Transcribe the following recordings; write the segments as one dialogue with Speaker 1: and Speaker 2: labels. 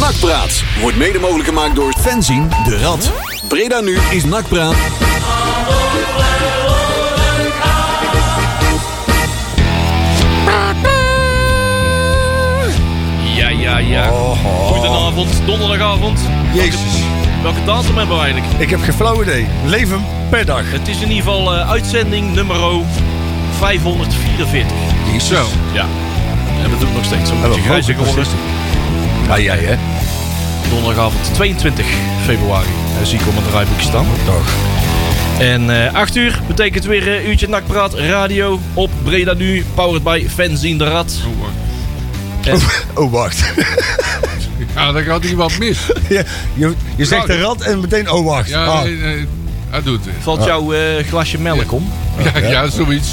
Speaker 1: Nakpraat wordt mede mogelijk gemaakt door Fenzin de Rad. Breda nu is Nakpraat.
Speaker 2: Ja, ja, ja. oh. Goedenavond, donderdagavond.
Speaker 3: Jezus.
Speaker 2: Welke, welke datum hebben we eigenlijk?
Speaker 3: Ik heb geen flauw idee. Leven per dag.
Speaker 2: Het is in ieder geval eh, uitzending nummer 544.
Speaker 3: Zo.
Speaker 2: Ja. En dat doe ik nog steeds. Een beetje grijze geworden.
Speaker 3: Ja, jij hè?
Speaker 2: Donderdagavond 22 februari. Eh, zie ik op mijn draaiboekje staan.
Speaker 3: Dag.
Speaker 2: En eh 8 uur betekent weer eh, uurtje nakpraat radio op Breda Nu. Powered by Fanzine de Rad.
Speaker 3: Oh, wacht.
Speaker 4: Ja, Ah, daar gaat iemand mis.
Speaker 3: Ja, je, je zegt de rand en meteen, oh, wacht.
Speaker 4: Ja,
Speaker 3: Ah,
Speaker 4: nee, nee, hij doet het.
Speaker 2: Valt jouw eh, glasje melk om?
Speaker 4: Ja, ja, zoiets.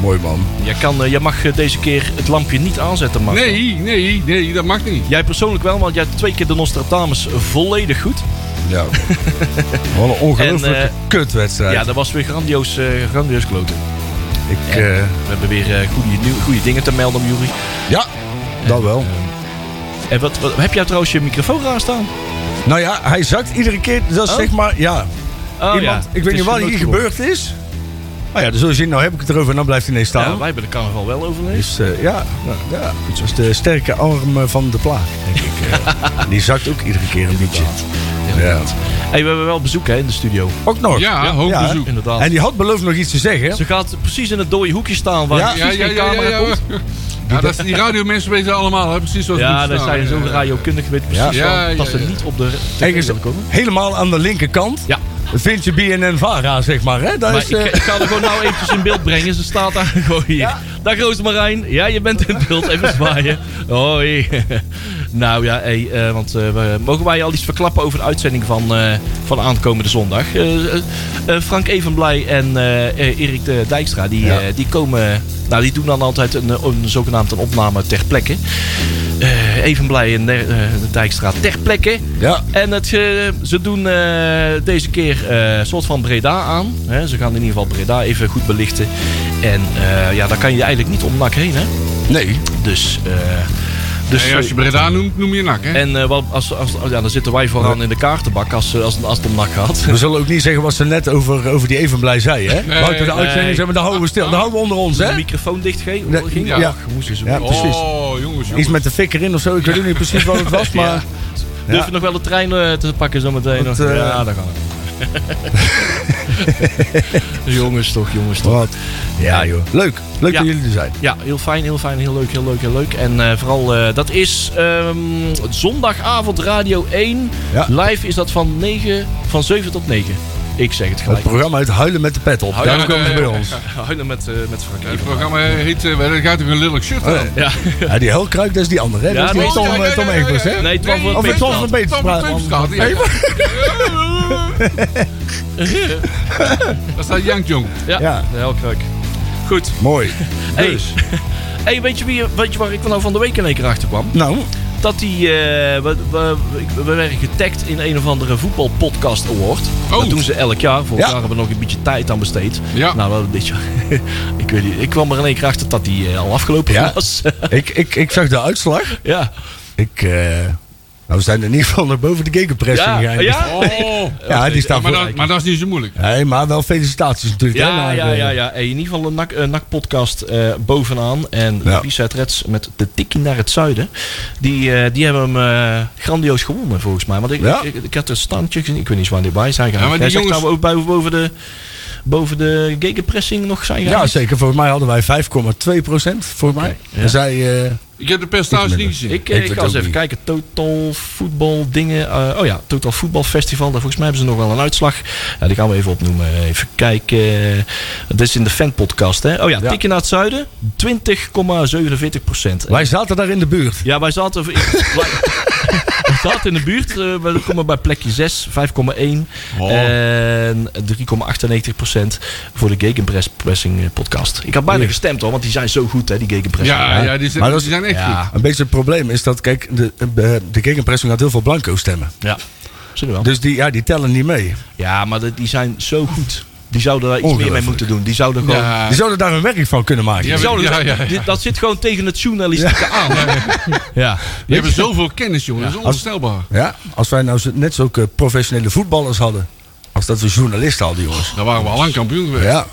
Speaker 3: Mooi man.
Speaker 2: Je, kan, eh, je mag eh, deze keer het lampje niet aanzetten, Marco.
Speaker 4: Nee, nee, nee, dat mag niet.
Speaker 2: Jij persoonlijk wel, want jij hebt twee keer de Nostradamus volledig goed.
Speaker 3: Ja. Wat een ongelooflijke
Speaker 2: En, eh,
Speaker 3: kutwedstrijd.
Speaker 2: Ja, dat was weer grandioos, eh, grandioos kloten.
Speaker 3: ik, eh,
Speaker 2: We hebben weer eh, goede, nieuw- goede dingen te melden, Jury.
Speaker 3: ja, dat wel.
Speaker 2: En wat, wat- heb jij trouwens je microfoon aanstaan?
Speaker 3: Nou ja, hij zakt iedere keer. Dat is
Speaker 2: Oh.
Speaker 3: zeg maar, ja.
Speaker 2: Oh,
Speaker 3: Iemand, ik weet niet wat hier gebeurd is. Maar ja, dus zul je zien, nou heb ik het erover en dan blijft hij ineens staan.
Speaker 2: Ja, wij hebben de carnaval wel overleefd.
Speaker 3: Dus eh, ja, nou, ja, het was de sterke arm eh, van de plaag, denk ik. eh. Die zakt ook iedere keer een beetje. Ja.
Speaker 2: Hey, we hebben wel bezoek hè, in de studio.
Speaker 3: Ook nog.
Speaker 4: Ja,
Speaker 3: ja,
Speaker 4: hoog
Speaker 3: hè?
Speaker 4: bezoek.
Speaker 2: Inderdaad.
Speaker 3: En die had beloofd nog iets te zeggen. hè?
Speaker 2: Ze gaat precies in het dode hoekje staan waar
Speaker 3: Ja,
Speaker 4: Ja,
Speaker 2: precies
Speaker 4: ja,
Speaker 2: geen
Speaker 4: ja, ja,
Speaker 2: camera
Speaker 4: ja.
Speaker 2: komt.
Speaker 4: Ja, dat, die radiomensen weten allemaal, hè, precies zoals
Speaker 2: Ja,
Speaker 4: het moet
Speaker 2: daar
Speaker 4: staan.
Speaker 2: zijn zo radiokundig weet precies
Speaker 3: Ja.
Speaker 4: Ja,
Speaker 2: wel dat
Speaker 4: ja,
Speaker 2: ze
Speaker 4: ja.
Speaker 2: niet op de tv
Speaker 3: Ergens
Speaker 2: willen komen.
Speaker 3: helemaal aan de linkerkant
Speaker 2: Ja,
Speaker 3: vind je BNN-Vara, zeg maar. Hè? Daar
Speaker 2: maar
Speaker 3: is,
Speaker 2: ik,
Speaker 3: eh,
Speaker 2: ik ga er gewoon nou eventjes in beeld brengen. Ze staat daar gewoon hier. Dag Roosmarijn. Ja, je bent in beeld. Even zwaaien. Hoi. Nou ja, hey, eh, want eh, we- mogen wij al iets verklappen over de uitzending van, eh, van aankomende zondag? Eh, eh, eh, Frank Evenblij en eh, eh, Erik de Dijkstra, die,
Speaker 3: Ja.
Speaker 2: eh, die komen... Nou, die doen dan altijd een, eh, een zogenaamd een opname ter plekke. Eh Evenblij en eh, de Dijkstra ter plekke.
Speaker 3: ja,
Speaker 2: En het, eh, ze doen eh, deze keer eh, een soort van Breda aan. Hè? Ze gaan in ieder geval Breda even goed belichten. En eh, ja, daar kan je eigenlijk niet om nak heen, hè?
Speaker 3: nee.
Speaker 2: Dus... eh, dus
Speaker 4: Nee, als je
Speaker 2: eh,
Speaker 4: Breda noemt, noem je nak, hè?
Speaker 2: en eh, wat, als, als, oh ja, dan zitten wij vooraan in de kaartenbak als, eh, als, als het om nak gaat.
Speaker 3: We zullen ook niet zeggen wat ze net over, over die Evenblij zei. Hè?
Speaker 4: Nee,
Speaker 3: Buiten de
Speaker 4: nee.
Speaker 3: uitzending zeg maar, daar houden we stil. Daar houden we onder ons,
Speaker 2: De
Speaker 3: hè?
Speaker 2: microfoon dichtgeven.
Speaker 3: Nee,
Speaker 2: Hoe ging
Speaker 3: ja.
Speaker 2: dat? Ach, moest eens een-
Speaker 3: Ja, precies.
Speaker 4: Oh, jongens,
Speaker 3: Iets
Speaker 4: jongens.
Speaker 3: met de fik erin of zo. Ik weet ook niet precies wat het was, maar...
Speaker 2: Durf
Speaker 3: Ja.
Speaker 2: je nog wel de trein eh, te pakken zometeen?
Speaker 3: Want,
Speaker 2: nog?
Speaker 3: eh,
Speaker 2: ja, daar gaan we. jongens toch, jongens toch.
Speaker 3: Wat? Ja, joh. Leuk. Leuk
Speaker 2: Ja.
Speaker 3: dat jullie er zijn.
Speaker 2: Ja, heel fijn, heel fijn, heel leuk, heel leuk, heel leuk. En eh, vooral, eh, dat is ehm, zondagavond Radio 1.
Speaker 3: Ja.
Speaker 2: Live is dat van, 9, van 7 tot 9. Ik zeg het
Speaker 3: Het
Speaker 2: gelijk.
Speaker 3: programma heet Huilen met de pet op.
Speaker 2: Huilen
Speaker 4: met
Speaker 3: Daarom komen ze
Speaker 4: de-
Speaker 3: bij ons.
Speaker 2: Huilen met, eh, met Frank
Speaker 4: Het
Speaker 2: Evenblij.
Speaker 4: programma heet... eh, wel, Dat gaat over een lelijk shirt
Speaker 3: Oh,
Speaker 4: aan. Oh,
Speaker 3: ja.
Speaker 2: Ja.
Speaker 3: Ja, die helkruik, dat is die andere, hè?
Speaker 2: Ja,
Speaker 3: dat is die
Speaker 2: nee,
Speaker 3: Tom,
Speaker 2: ja,
Speaker 3: eh, Tom Egbers, hè?
Speaker 2: Nee, Tom van
Speaker 3: Of
Speaker 2: Peter
Speaker 3: nee, Tom
Speaker 2: Straat.
Speaker 3: van Peterstraat.
Speaker 4: Peterstraat, ja. Daar staat Jank Jong.
Speaker 2: Ja, Dus.
Speaker 3: Ja.
Speaker 2: heel kruik. Goed.
Speaker 3: Mooi.
Speaker 2: Hey. Hey, weet, je wie, weet je waar ik nou van de week in één keer achter kwam?
Speaker 3: Nou,
Speaker 2: Dat die, eh, we, we, we werden getagd in een of andere voetbalpodcast award.
Speaker 4: Oh.
Speaker 2: Dat doen ze elk jaar. Vorig
Speaker 3: Ja.
Speaker 2: jaar hebben we nog een beetje tijd aan besteed.
Speaker 4: Ja.
Speaker 2: Nou, wel een beetje. ik, weet niet, ik kwam er in één keer achter dat die eh, al afgelopen
Speaker 3: Ja.
Speaker 2: was.
Speaker 3: ik, ik, ik zag de uitslag.
Speaker 2: ja.
Speaker 3: Ik, eh, nou, we zijn in ieder geval naar boven de gegenpressing
Speaker 2: Ja.
Speaker 3: gegaan.
Speaker 2: Ja?
Speaker 4: Oh,
Speaker 3: Ja, die staan
Speaker 4: maar,
Speaker 3: voor.
Speaker 4: dat, maar dat is niet zo moeilijk.
Speaker 3: Nee, maar wel felicitaties natuurlijk. hè,
Speaker 2: Ja,
Speaker 3: naar,
Speaker 2: ja,
Speaker 3: eh,
Speaker 2: ja, ja. Hey, in ieder geval een nak- een NAC-podcast eh, bovenaan. En
Speaker 3: Ja.
Speaker 2: de Bizet Reds met de tikkie naar het zuiden. Die, eh, die hebben hem eh, grandioos gewonnen volgens mij. Want ik,
Speaker 3: Ja.
Speaker 2: ik, ik had een standje gezien. Ik weet niet waar die bij zijn gegaan.
Speaker 4: maar
Speaker 2: Jij
Speaker 4: die
Speaker 2: zegt
Speaker 4: jongens-
Speaker 2: nou ook bij- boven de, boven de gegenpressing nog zijn gegaan.
Speaker 3: Ja, zeker. Volgens mij hadden wij 5,2 procent. Volgens mij.
Speaker 2: ja.
Speaker 3: En zij... eh,
Speaker 4: Ik heb de percentage niet gezien.
Speaker 2: Ik, eh,
Speaker 3: Ik
Speaker 2: ik
Speaker 3: weet
Speaker 2: ga eens
Speaker 3: ook
Speaker 2: even
Speaker 3: niet.
Speaker 2: kijken. Total voetbal dingen. eh, oh ja, Total Voetbal Festival. Daar volgens mij hebben ze nog wel een uitslag. Ja, die gaan we even opnoemen. Even kijken. Dat is in de fanpodcast. Hè? Oh ja,
Speaker 3: Ja.
Speaker 2: tikken naar het zuiden. 20,47 procent.
Speaker 3: wij zaten daar in de buurt.
Speaker 2: Ja, wij zaten, ik, wij, wij zaten in de buurt. eh, we komen bij plekje 6, 5,1.
Speaker 4: Oh.
Speaker 2: En 3,98 procent voor de Gegenpressing eh, podcast. Ik had bijna
Speaker 3: Ja.
Speaker 2: gestemd hoor, want die zijn zo goed hè, die Gegenpressing.
Speaker 4: Ja, ja, die zijn,
Speaker 3: Maar dat
Speaker 4: die
Speaker 3: is-
Speaker 4: zijn echt
Speaker 2: Ja.
Speaker 4: goed.
Speaker 3: Een beetje het probleem is dat, kijk, de, de, de gegenpressing had heel veel blanco stemmen.
Speaker 2: ja. Zullen we wel.
Speaker 3: Dus die, ja, die tellen niet mee.
Speaker 2: Ja, maar dat- die zijn zo goed. Die zouden daar iets meer mee
Speaker 3: Ongelooflijk.
Speaker 2: moeten doen. Die zouden gewoon...
Speaker 4: Ja.
Speaker 3: Die zouden daar een werk van kunnen maken.
Speaker 4: Ja,
Speaker 2: die zouden-
Speaker 4: ja, ja, ja.
Speaker 2: dit- dat zit gewoon tegen het journalistieke aan. Ja.
Speaker 4: ah, Die hebben zoveel kennis, jongen. Dat is onvoorstelbaar.
Speaker 3: Ja, als wij nou zo- net zulke professionele voetballers hadden. Als dat we journalisten hadden, jongens.
Speaker 4: Dan waren we al lang kampioen geweest.
Speaker 3: Ja.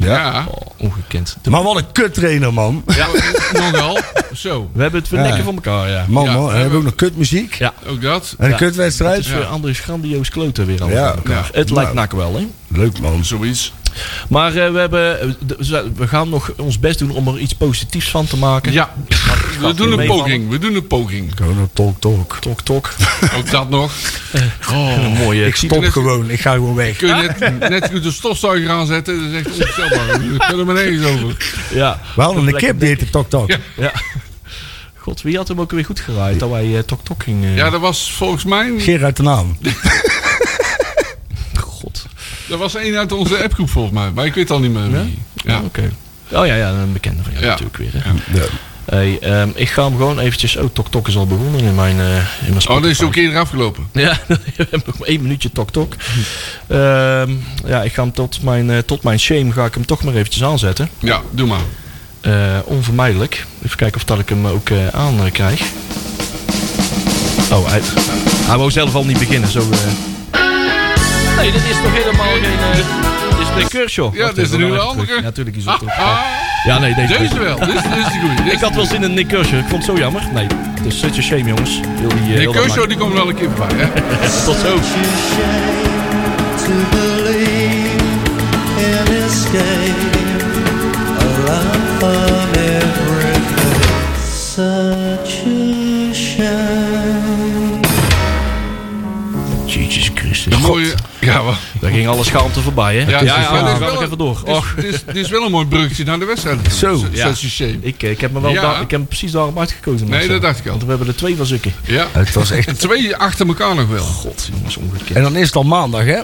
Speaker 3: Ja.
Speaker 4: Ja.
Speaker 2: Ongekend.
Speaker 3: Maar wat een kuttrainer, man.
Speaker 4: Ja, nogal. Zo,
Speaker 2: We hebben het voor
Speaker 3: Ja.
Speaker 2: nekken van elkaar, ja.
Speaker 3: Man,
Speaker 4: Ja,
Speaker 3: man.
Speaker 4: we
Speaker 3: En hebben we ook
Speaker 4: hebben-
Speaker 3: nog kutmuziek.
Speaker 2: Ja.
Speaker 4: ook dat.
Speaker 3: En een
Speaker 2: Ja.
Speaker 3: kutwedstrijd.
Speaker 2: Het is voor Andries grandioos kloten weer allemaal.
Speaker 3: Ja.
Speaker 4: Ja,
Speaker 2: Het lijkt
Speaker 3: Nou.
Speaker 2: nak wel, hè?
Speaker 3: Leuk, man.
Speaker 4: zoiets.
Speaker 2: Maar eh, we, hebben, eh, d- we- we gaan nog ons best doen om er iets positiefs van te maken.
Speaker 4: Ja, we
Speaker 2: niet
Speaker 4: doen een
Speaker 2: meevallen.
Speaker 4: poging. We doen een poging.
Speaker 3: Gewoon talk, talk.
Speaker 2: Tok, tok.
Speaker 4: Ook dat nog.
Speaker 2: Een
Speaker 4: Oh,
Speaker 2: mooie.
Speaker 3: Ik stop
Speaker 4: net-
Speaker 3: gewoon. Ik ga gewoon weg.
Speaker 4: kun je net, net goed de stofzuiger aanzetten. Dat is echt onvoorstelbaar. We kunnen er maar nergens over.
Speaker 2: Ja.
Speaker 3: We hadden een
Speaker 2: Lekker
Speaker 3: kip die heette Tok Tok.
Speaker 4: Ja.
Speaker 2: Ja. God, wie had hem ook weer goed geraaid dat wij eh, Tok Tok gingen?
Speaker 4: Ja, dat was volgens mij...
Speaker 3: Gerard de Naam.
Speaker 2: God.
Speaker 4: Dat was één uit onze appgroep volgens mij. Maar ik weet al niet meer
Speaker 2: Ja?
Speaker 4: wie. Ja.
Speaker 2: Oh, Oké. Oh ja, ja, een bekende van jou
Speaker 4: Ja.
Speaker 2: natuurlijk weer. Hè.
Speaker 3: Ja.
Speaker 2: Hey, ehm, ik ga hem gewoon eventjes... Oh, Tok Tok is al begonnen in mijn, eh in mijn
Speaker 4: Oh, dat
Speaker 2: Spotify.
Speaker 4: is ook eerder afgelopen.
Speaker 2: Ja, we hebben nog maar één minuutje Tok Tok. Ehm, ja, ik ga hem tot mijn, eh, tot mijn shame ga ik hem toch maar eventjes aanzetten.
Speaker 4: Ja, doe maar.
Speaker 2: Eh, onvermijdelijk. Even kijken of dat ik hem ook eh, aan eh, krijg. Oh, hij, hij wou zelf al niet beginnen. Zo, eh. Nee, dit is toch helemaal geen... eh, dit is de Kershaw.
Speaker 4: Ja,
Speaker 2: Wacht
Speaker 4: dit is
Speaker 2: even,
Speaker 4: een
Speaker 2: dan
Speaker 4: hele
Speaker 2: even terug.
Speaker 4: andere.
Speaker 2: Ja, natuurlijk is het
Speaker 4: Ah,
Speaker 2: toch. eh.
Speaker 4: ah,
Speaker 2: Ja, nee, deze.
Speaker 4: deze wel. Dit is dit is de goede.
Speaker 2: Ik had wel zin in Nick Kershaw. Ik vond het zo jammer. Nee, het is such a shame, jongens. Heel die, eh,
Speaker 4: De
Speaker 2: heel dat
Speaker 4: Kershaw die komt wel een keer bij. Hè?
Speaker 2: maakt- Tot zo.
Speaker 5: to believe in escape a life from everything. Such a shame.
Speaker 2: Jezus Christus.
Speaker 4: Een mooie. Ja, wel.
Speaker 2: Daar ging alle schaamte voorbij, hè?
Speaker 4: Ja,
Speaker 2: ja, ja,
Speaker 4: maar dit is
Speaker 2: ga
Speaker 4: wel
Speaker 2: ik
Speaker 4: een-
Speaker 2: even door.
Speaker 4: dit is-
Speaker 2: Och.
Speaker 4: Dit is- dit is wel een mooi bruggetje naar de wedstrijd.
Speaker 3: Zo,
Speaker 4: Dat is
Speaker 2: ja.
Speaker 4: een shame.
Speaker 2: Ik, eh, ik heb me wel
Speaker 4: Ja.
Speaker 2: daar- ik heb hem precies daarom uitgekozen. Marcel.
Speaker 4: dat dacht ik al.
Speaker 2: Want we hebben er twee van zukken.
Speaker 4: Ja.
Speaker 3: Het was echt...
Speaker 4: En twee achter elkaar nog wel.
Speaker 2: God, jongens, ongekend.
Speaker 3: En dan is het al maandag, hè?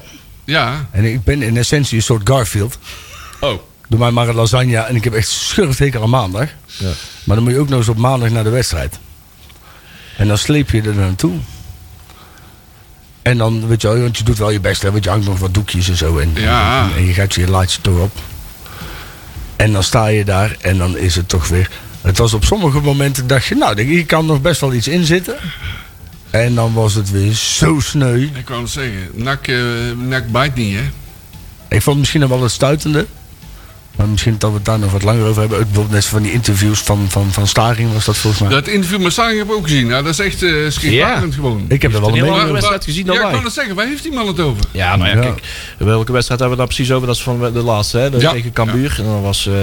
Speaker 4: Ja.
Speaker 3: En ik ben in essentie een soort Garfield.
Speaker 4: Oh.
Speaker 3: Doe mij maar een lasagne en ik heb echt schurfthekel aan maandag. Maar dan moet je ook nog eens op maandag naar de wedstrijd. En dan sleep je er naartoe. En dan, weet je wel, want je doet wel je best, hè, want je hangt nog wat doekjes en zo. En,
Speaker 4: Ja.
Speaker 3: en, je gaat je laatste toch op. En dan sta je daar en dan is het toch weer... Het was op sommige momenten, dacht je, nou, hier kan nog best wel iets in zitten. En dan was het weer zo sneu.
Speaker 4: Ik wou het zeggen. Nak, eh nak bijt niet, hè?
Speaker 3: Ik vond het misschien nog wel het stuitende. Maar misschien dat we het daar nog wat langer over hebben. Ook Bijvoorbeeld net van die interviews van, van, van Staring was dat volgens mij.
Speaker 4: Dat interview met Sanger heb ik ook gezien. Nou, dat is echt eh schrikbarend gewoon.
Speaker 3: ik heb er wel
Speaker 2: een
Speaker 3: een
Speaker 2: heel lange
Speaker 3: mening over.
Speaker 2: wedstrijd gezien dan
Speaker 4: ja, ik
Speaker 2: wij.
Speaker 4: kan het zeggen. Waar heeft die man het over?
Speaker 2: Ja, nou ja,
Speaker 3: Ja.
Speaker 2: kijk. Welke wedstrijd hebben we daar precies over? Dat is van de laatste, hè? De,
Speaker 4: Ja.
Speaker 2: Tegen Cambuur. En dan was, eh,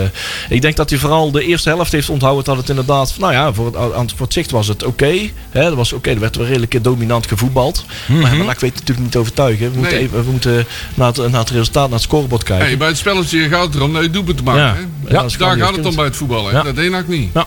Speaker 2: ik denk dat hij vooral de eerste helft heeft onthouden dat het inderdaad... Nou ja, voor het, aan, voor het zicht was het oké. hè, dat was oké. Er werd wel redelijk dominant gevoetbald. Maar ik weet het natuurlijk niet overtuigen. We moeten,
Speaker 4: Mhm. Nee.
Speaker 2: even, we moeten naar, het, naar het resultaat, naar het scorebord kijken.
Speaker 4: Hey, bij het spelletje gaat het erom dat je doelpunt te maken.
Speaker 2: Ja.
Speaker 4: hè?
Speaker 2: Ja, dat is
Speaker 4: Daar
Speaker 2: gewoon
Speaker 4: gaat het
Speaker 2: punt.
Speaker 4: om bij het voetballen. hè?
Speaker 2: Ja.
Speaker 4: Dat deed ik niet.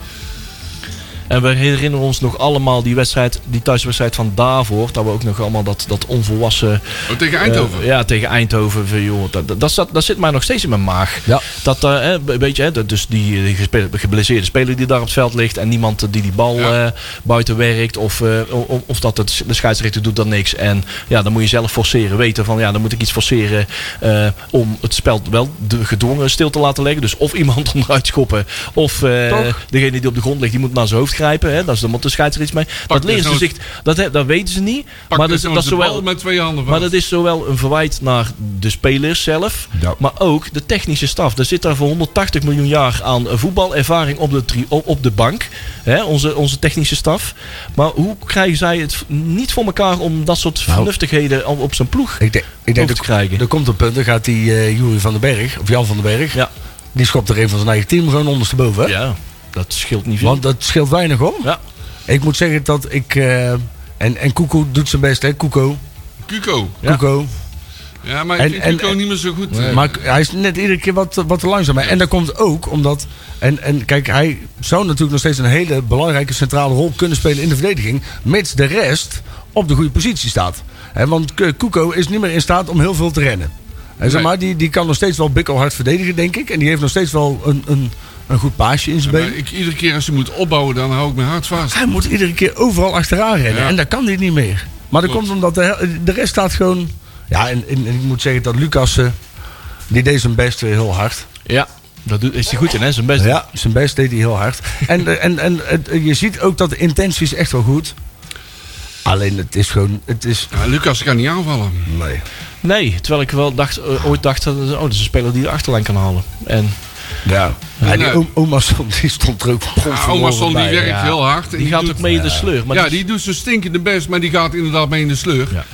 Speaker 2: En we herinneren ons nog allemaal die wedstrijd, die thuiswedstrijd van daarvoor. Dat we ook nog allemaal dat, dat onvolwassen...
Speaker 4: Oh, tegen Eindhoven.
Speaker 2: Eh, ja, tegen Eindhoven. van, Joh, dat, dat, dat, zat- dat zit mij nog steeds in mijn maag.
Speaker 3: Ja.
Speaker 2: Dat, eh, hè, een beetje, hè, dat, dus die, eh, gespe- geblesseerde speler die daar op het veld ligt. En niemand eh, die die bal
Speaker 4: Ja.
Speaker 2: eh, buiten werkt. Of, eh, of, of dat het, de scheidsrechter doet dan niks. En ja, dan moet je zelf forceren. Weten van ja, dan moet ik iets forceren. eh, om het spel wel de, gedwongen stil te laten leggen. Dus of iemand onderuit schoppen. Of eh, degene die op de grond ligt, die moet naar zijn hoofd grijpen. Hè, dat is, dan moet de scheidsrechter iets mee. dat
Speaker 4: dus
Speaker 2: leren ze
Speaker 4: nooit-
Speaker 2: zich. Dat, hè, dat weten ze niet.
Speaker 4: Pak
Speaker 2: maar
Speaker 4: dus
Speaker 2: dat,
Speaker 4: nou
Speaker 2: dat is
Speaker 4: eens de
Speaker 2: zowel
Speaker 4: bal met twee handen
Speaker 2: maar
Speaker 4: vast.
Speaker 2: dat is zowel een verwijt naar de spelers zelf,
Speaker 3: Ja.
Speaker 2: maar ook de technische staf. Er zit daar voor 180 miljoen jaar aan voetbalervaring op de, tri- op op de bank. Hè, onze, onze technische staf. Maar hoe krijgen zij het v- niet voor elkaar om dat
Speaker 3: Nou.
Speaker 2: soort vernuftigheden op, op zijn ploeg
Speaker 3: Ik denk, ik denk
Speaker 2: over te
Speaker 3: dat
Speaker 2: krijgen?
Speaker 3: er komt een punt, dan gaat die eh Jury van den Berg, of Jan van den Berg,
Speaker 2: Ja.
Speaker 3: die schopt er een van zijn eigen team gewoon ondersteboven. hè?
Speaker 2: ja, dat scheelt niet veel.
Speaker 3: Want dat scheelt weinig om.
Speaker 2: Ja.
Speaker 3: Ik moet zeggen dat ik. eh, en, en Koeko doet zijn best, hè? Koeko.
Speaker 4: Cuco.
Speaker 2: Ja.
Speaker 3: Koeko.
Speaker 4: Ja, maar
Speaker 3: En-
Speaker 4: ik vind
Speaker 3: en-
Speaker 4: Cuco niet meer zo goed. eh,
Speaker 3: Maar k- hij is net iedere keer wat, wat te langzaam. En dat komt ook omdat. En, en kijk, hij zou natuurlijk nog steeds een hele belangrijke centrale rol kunnen spelen in de verdediging. Mits de rest op de goede positie staat. Hè, want K- Kuko is niet meer in staat om heel veel te rennen. En zeg
Speaker 4: Nee.
Speaker 3: maar, die, die kan nog steeds wel bikkelhard verdedigen, denk ik. En die heeft nog steeds wel een, een, een goed paasje in zijn
Speaker 4: maar
Speaker 3: been.
Speaker 4: ik, iedere keer als je moet opbouwen, dan hou ik mijn hart vast.
Speaker 3: Hij moet iedere keer overal achteraan rennen.
Speaker 4: Ja.
Speaker 3: En dat kan hij niet meer. Maar dat
Speaker 4: Klopt.
Speaker 3: komt omdat de, hel- de rest staat gewoon. Ja, en, en- en ik moet zeggen dat Lucas. eh, Die deed zijn best eh, heel hard.
Speaker 2: Ja, dat doet, is hij goed in, hè? Zijn best.
Speaker 3: Ja, zijn best deed hij heel hard. En, eh, en, en het- je ziet ook dat de intentie is echt wel goed. Alleen het is gewoon, het is...
Speaker 4: Ja, Lucas kan niet aanvallen.
Speaker 3: Nee.
Speaker 2: Nee, terwijl ik wel dacht, eh, ooit dacht, dat, oh, dat is een speler die de achterlijn kan halen. En
Speaker 3: Ja. En die
Speaker 4: Nee.
Speaker 3: oom- oma stond, die stond er ook
Speaker 4: Ja, oma Son die werkt
Speaker 2: ja.
Speaker 4: heel hard. en
Speaker 2: die gaat
Speaker 4: doet-
Speaker 2: ook mee in de sleur. Maar
Speaker 4: ja,
Speaker 2: die-
Speaker 4: die doet zijn stinkende best, maar die gaat inderdaad mee in de sleur.
Speaker 2: Ja.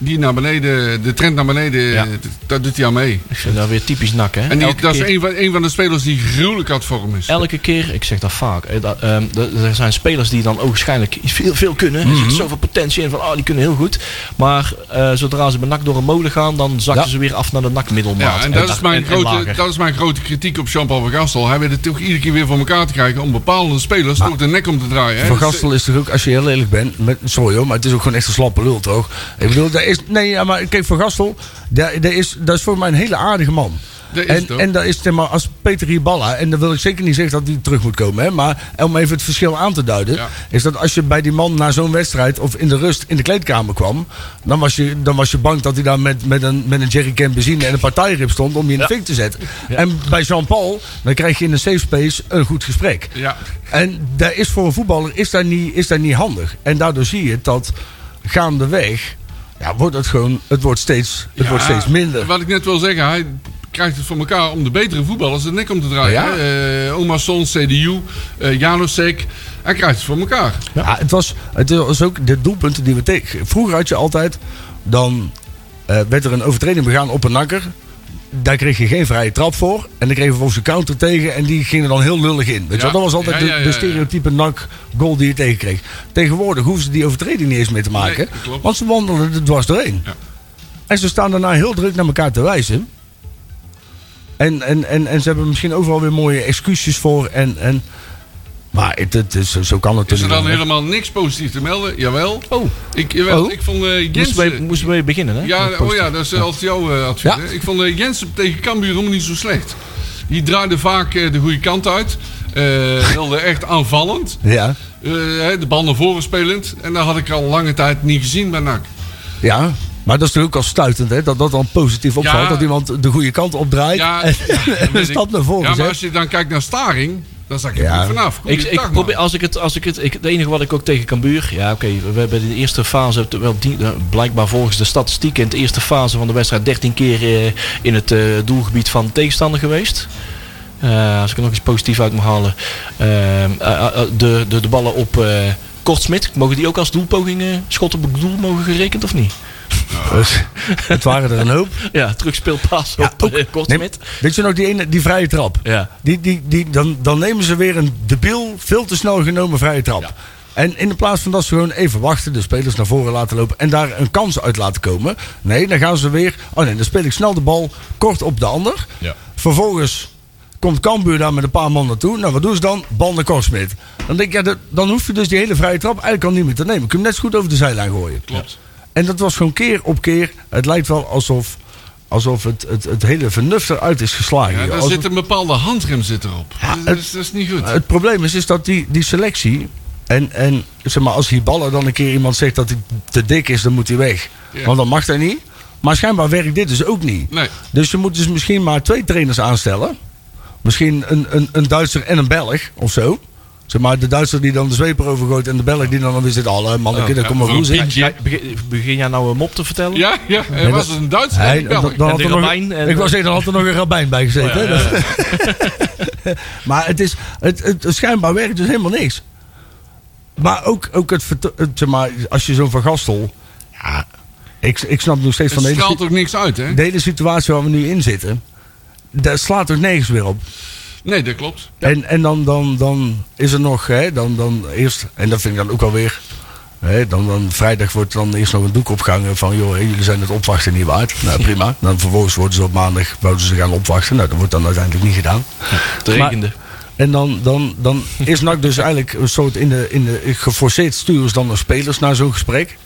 Speaker 4: Die naar beneden, de trend naar beneden,
Speaker 2: Ja.
Speaker 4: d- daar doet hij aan mee.
Speaker 2: Ik vind dat weer typisch nak, hè?
Speaker 4: En die,
Speaker 2: Elke
Speaker 4: dat is
Speaker 2: keer-
Speaker 4: een van, een van de spelers die gruwelijk aan het vormen is.
Speaker 2: Elke keer, ik zeg dat vaak, eh, dat, ehm, dat- er zijn spelers die dan ook waarschijnlijk iets veel, veel kunnen. Er
Speaker 4: Mhm.
Speaker 2: zit zoveel potentie in van, oh, die kunnen heel goed. Maar eh, zodra ze met NAC door een molen gaan, dan zakken
Speaker 3: Ja.
Speaker 2: ze weer af naar de NAC-middelmaat.
Speaker 4: Ja, en dat is, mijn grote,
Speaker 2: lager.
Speaker 4: dat is mijn grote kritiek op Jean-Paul van Gastel. Hij weet het toch iedere keer weer voor elkaar te krijgen om bepaalde spelers toch de nek om te draaien. hè.
Speaker 3: Van
Speaker 4: Dus-
Speaker 3: Gastel is toch ook, als je heel eerlijk bent, met, sorry hoor, maar het is ook gewoon echt een slappe lul toch? Ik bedoel, daar is, nee, ja, maar kijk, Van Gastel, daar, daar is, dat is voor mij een hele aardige man.
Speaker 4: Dat is het
Speaker 3: en,
Speaker 4: ook.
Speaker 3: en dat is zeg maar als Peter Riballa, en dan wil ik zeker niet zeggen dat hij terug moet komen, hè, maar om even het verschil aan te duiden,
Speaker 4: Ja.
Speaker 3: is dat als je bij die man na zo'n wedstrijd of in de rust in de kleedkamer kwam, dan was je, dan was je bang dat hij daar met, met een, met een jerrycan benzine en een partijrib stond om je in de fik te zetten. En bij Jean-Paul, dan krijg je in een safe space een goed gesprek.
Speaker 4: Ja.
Speaker 3: En daar is voor een voetballer is dat, niet, is dat niet handig. En daardoor zie je dat gaandeweg ja, wordt het gewoon, het wordt steeds, het wordt
Speaker 4: Ja,
Speaker 3: steeds minder.
Speaker 4: Wat ik net wil zeggen, hij krijgt het voor elkaar om de betere voetballers de nek om te draaien.
Speaker 3: Ja.
Speaker 4: hè. Eh, Omar Son, CDU, eh Janosek. Hij krijgt het voor elkaar.
Speaker 3: Ja. het, was, het was ook de doelpunten die we tegen. Vroeger had je altijd, dan eh, werd er een overtreding begaan op een nakker. Daar kreeg je geen vrije trap voor. En dan kregen we volgens de counter tegen. En die ging er dan heel lullig in. Weet je
Speaker 4: Ja.
Speaker 3: wel? Dat was altijd
Speaker 4: Ja, ja,
Speaker 3: de,
Speaker 4: ja,
Speaker 3: de
Speaker 4: ja.
Speaker 3: stereotype nak goal die je tegenkreeg. Tegenwoordig hoeven ze die overtreding niet eens meer te maken.
Speaker 4: dat klopt.
Speaker 3: want ze wandelen er dwars doorheen.
Speaker 4: Ja.
Speaker 3: En ze staan daarna heel druk naar elkaar te wijzen. En, en, en, en ze hebben misschien overal weer mooie excuses voor. En, en, maar het, het is, zo- zo kan het
Speaker 4: Is er
Speaker 3: natuurlijk
Speaker 4: dan
Speaker 3: niet.
Speaker 4: helemaal niks positiefs te melden? Jawel.
Speaker 2: Oh,
Speaker 4: Ik, jawel,
Speaker 3: Oh.
Speaker 4: ik vond eh
Speaker 2: moesten we,
Speaker 4: Jensen...
Speaker 2: moesten we beginnen, hè?
Speaker 4: Ja, oh ja, dat is eh, als jouw eh, advies.
Speaker 3: Ja.
Speaker 4: hè. Ik vond eh, Jensen tegen Cambuur helemaal niet zo slecht. Die draaide vaak eh, de goede kant uit. Eh, wilde echt aanvallend.
Speaker 3: Ja,
Speaker 4: Eh, hè, de bal naar voren spelend. En dat had ik al lange tijd niet gezien bij NAC.
Speaker 3: ja. Maar dat is natuurlijk ook al stuitend, hè? Dat dat dan positief opvalt.
Speaker 4: Ja.
Speaker 3: Dat iemand de goede kant opdraait
Speaker 4: Ja,
Speaker 3: en,
Speaker 4: ja, dat
Speaker 3: en een
Speaker 4: weet ik.
Speaker 3: stap naar voren
Speaker 4: Ja, maar als
Speaker 3: zet.
Speaker 4: je dan kijkt naar Staring, dan zak ik
Speaker 3: Ja.
Speaker 4: er niet vanaf.
Speaker 2: Ik, ik
Speaker 4: Goeiedag,
Speaker 2: probeer,
Speaker 4: man.
Speaker 2: als ik het, als ik het, ik, het enige wat ik ook tegen Cambuur, ja oké, we hebben in de eerste fase, hebben wel die, eh, blijkbaar volgens de statistieken, in de eerste fase van de wedstrijd 13 keer eh, in het eh, doelgebied van de tegenstander geweest. Eh, als ik er nog iets positiefs uit mag halen. Eh, eh, eh, de, de, de ballen op eh Kortsmit, mogen die ook als doelpoging, eh, schot op het doel mogen gerekend of niet?
Speaker 3: Dus, het waren er een hoop.
Speaker 2: Ja, terugspeelpaas
Speaker 3: Ja,
Speaker 2: op eh,
Speaker 3: Nee,
Speaker 2: Kortsmit.
Speaker 3: weet je nog die, ene, die vrije trap?
Speaker 2: Ja.
Speaker 3: Die, die, die, dan, dan nemen ze weer een debiel, veel te snel genomen vrije trap. En in de plaats van dat ze gewoon even wachten, de spelers naar voren laten lopen en daar een kans uit laten komen. Nee, dan gaan ze weer. Oh nee, dan speel ik snel de bal kort op de ander.
Speaker 4: Ja.
Speaker 3: Vervolgens komt Cambuur daar met een paar man naartoe. Nou, wat doen ze dan? Bal naar Korsmit. Dan denk ik, ja, dat- dan hoef je dus die hele vrije trap eigenlijk al niet meer te nemen. Kun je hem net zo goed over de zijlijn gooien.
Speaker 4: Klopt.
Speaker 3: En dat was gewoon keer op keer. Het lijkt wel alsof, alsof het, het, het hele vernuft eruit is geslagen.
Speaker 4: Ja,
Speaker 3: joh.
Speaker 4: daar
Speaker 3: Alsof-
Speaker 4: zit een bepaalde handrem zit erop. dat,
Speaker 3: het-
Speaker 4: is, dat is niet goed.
Speaker 3: het probleem is, is dat die, die selectie. En, en zeg maar, als Hiballa dan een keer iemand zegt dat hij te dik is, dan moet hij weg.
Speaker 4: Ja.
Speaker 3: Want dan mag dat niet. Maar schijnbaar werkt dit dus ook niet.
Speaker 4: Nee.
Speaker 3: Dus je moet dus misschien maar twee trainers aanstellen. Misschien een, een, een Duitser en een Belg of zo. Zeg maar, de Duitser die dan de zweep erover gooit en de Belg die dan dan weer zit. Alle manneke, daar komt maar
Speaker 4: Oh, ja,
Speaker 3: roes in.
Speaker 4: Piet.
Speaker 2: Jij- begin, begin jij nou een mop te vertellen?
Speaker 4: ja, ja, er was
Speaker 3: dat-
Speaker 4: een Duits en
Speaker 3: Hij-
Speaker 4: een Belg.
Speaker 3: dan- dan
Speaker 2: En
Speaker 3: had
Speaker 2: de
Speaker 3: er nog-
Speaker 2: rabbijn en-
Speaker 3: Ik
Speaker 4: eh,
Speaker 3: was zeggen, dan had er nog een rabbijn bij gezeten. hè? maar het is, het, het, schijnbaar werkt dus helemaal niks. Maar ook, ook het, vert- het, zeg maar, als je zo'n Van Gastel... Ja, ik, ik snap nog steeds
Speaker 4: het
Speaker 3: van de hele,
Speaker 4: straalt
Speaker 3: si-
Speaker 4: ook niks uit, hè?
Speaker 3: de hele situatie waar we nu in zitten. Daar slaat toch nergens weer op.
Speaker 4: Nee, dat klopt.
Speaker 3: En, en dan, dan, dan is er nog, hè, dan, dan eerst, en dat vind ik dan ook alweer. Hè, dan, dan vrijdag wordt dan eerst nog een doek opgehangen van, joh, hè, jullie zijn het opwachten niet waard. Nou prima. Dan vervolgens worden ze op maandag, wouden ze gaan opwachten. Nou, dat wordt dan uiteindelijk niet gedaan.
Speaker 2: Het regende.
Speaker 3: En dan, dan, dan is NAC dus eigenlijk een soort in de, in de geforceerd sturen ze dan de spelers naar zo'n gesprek.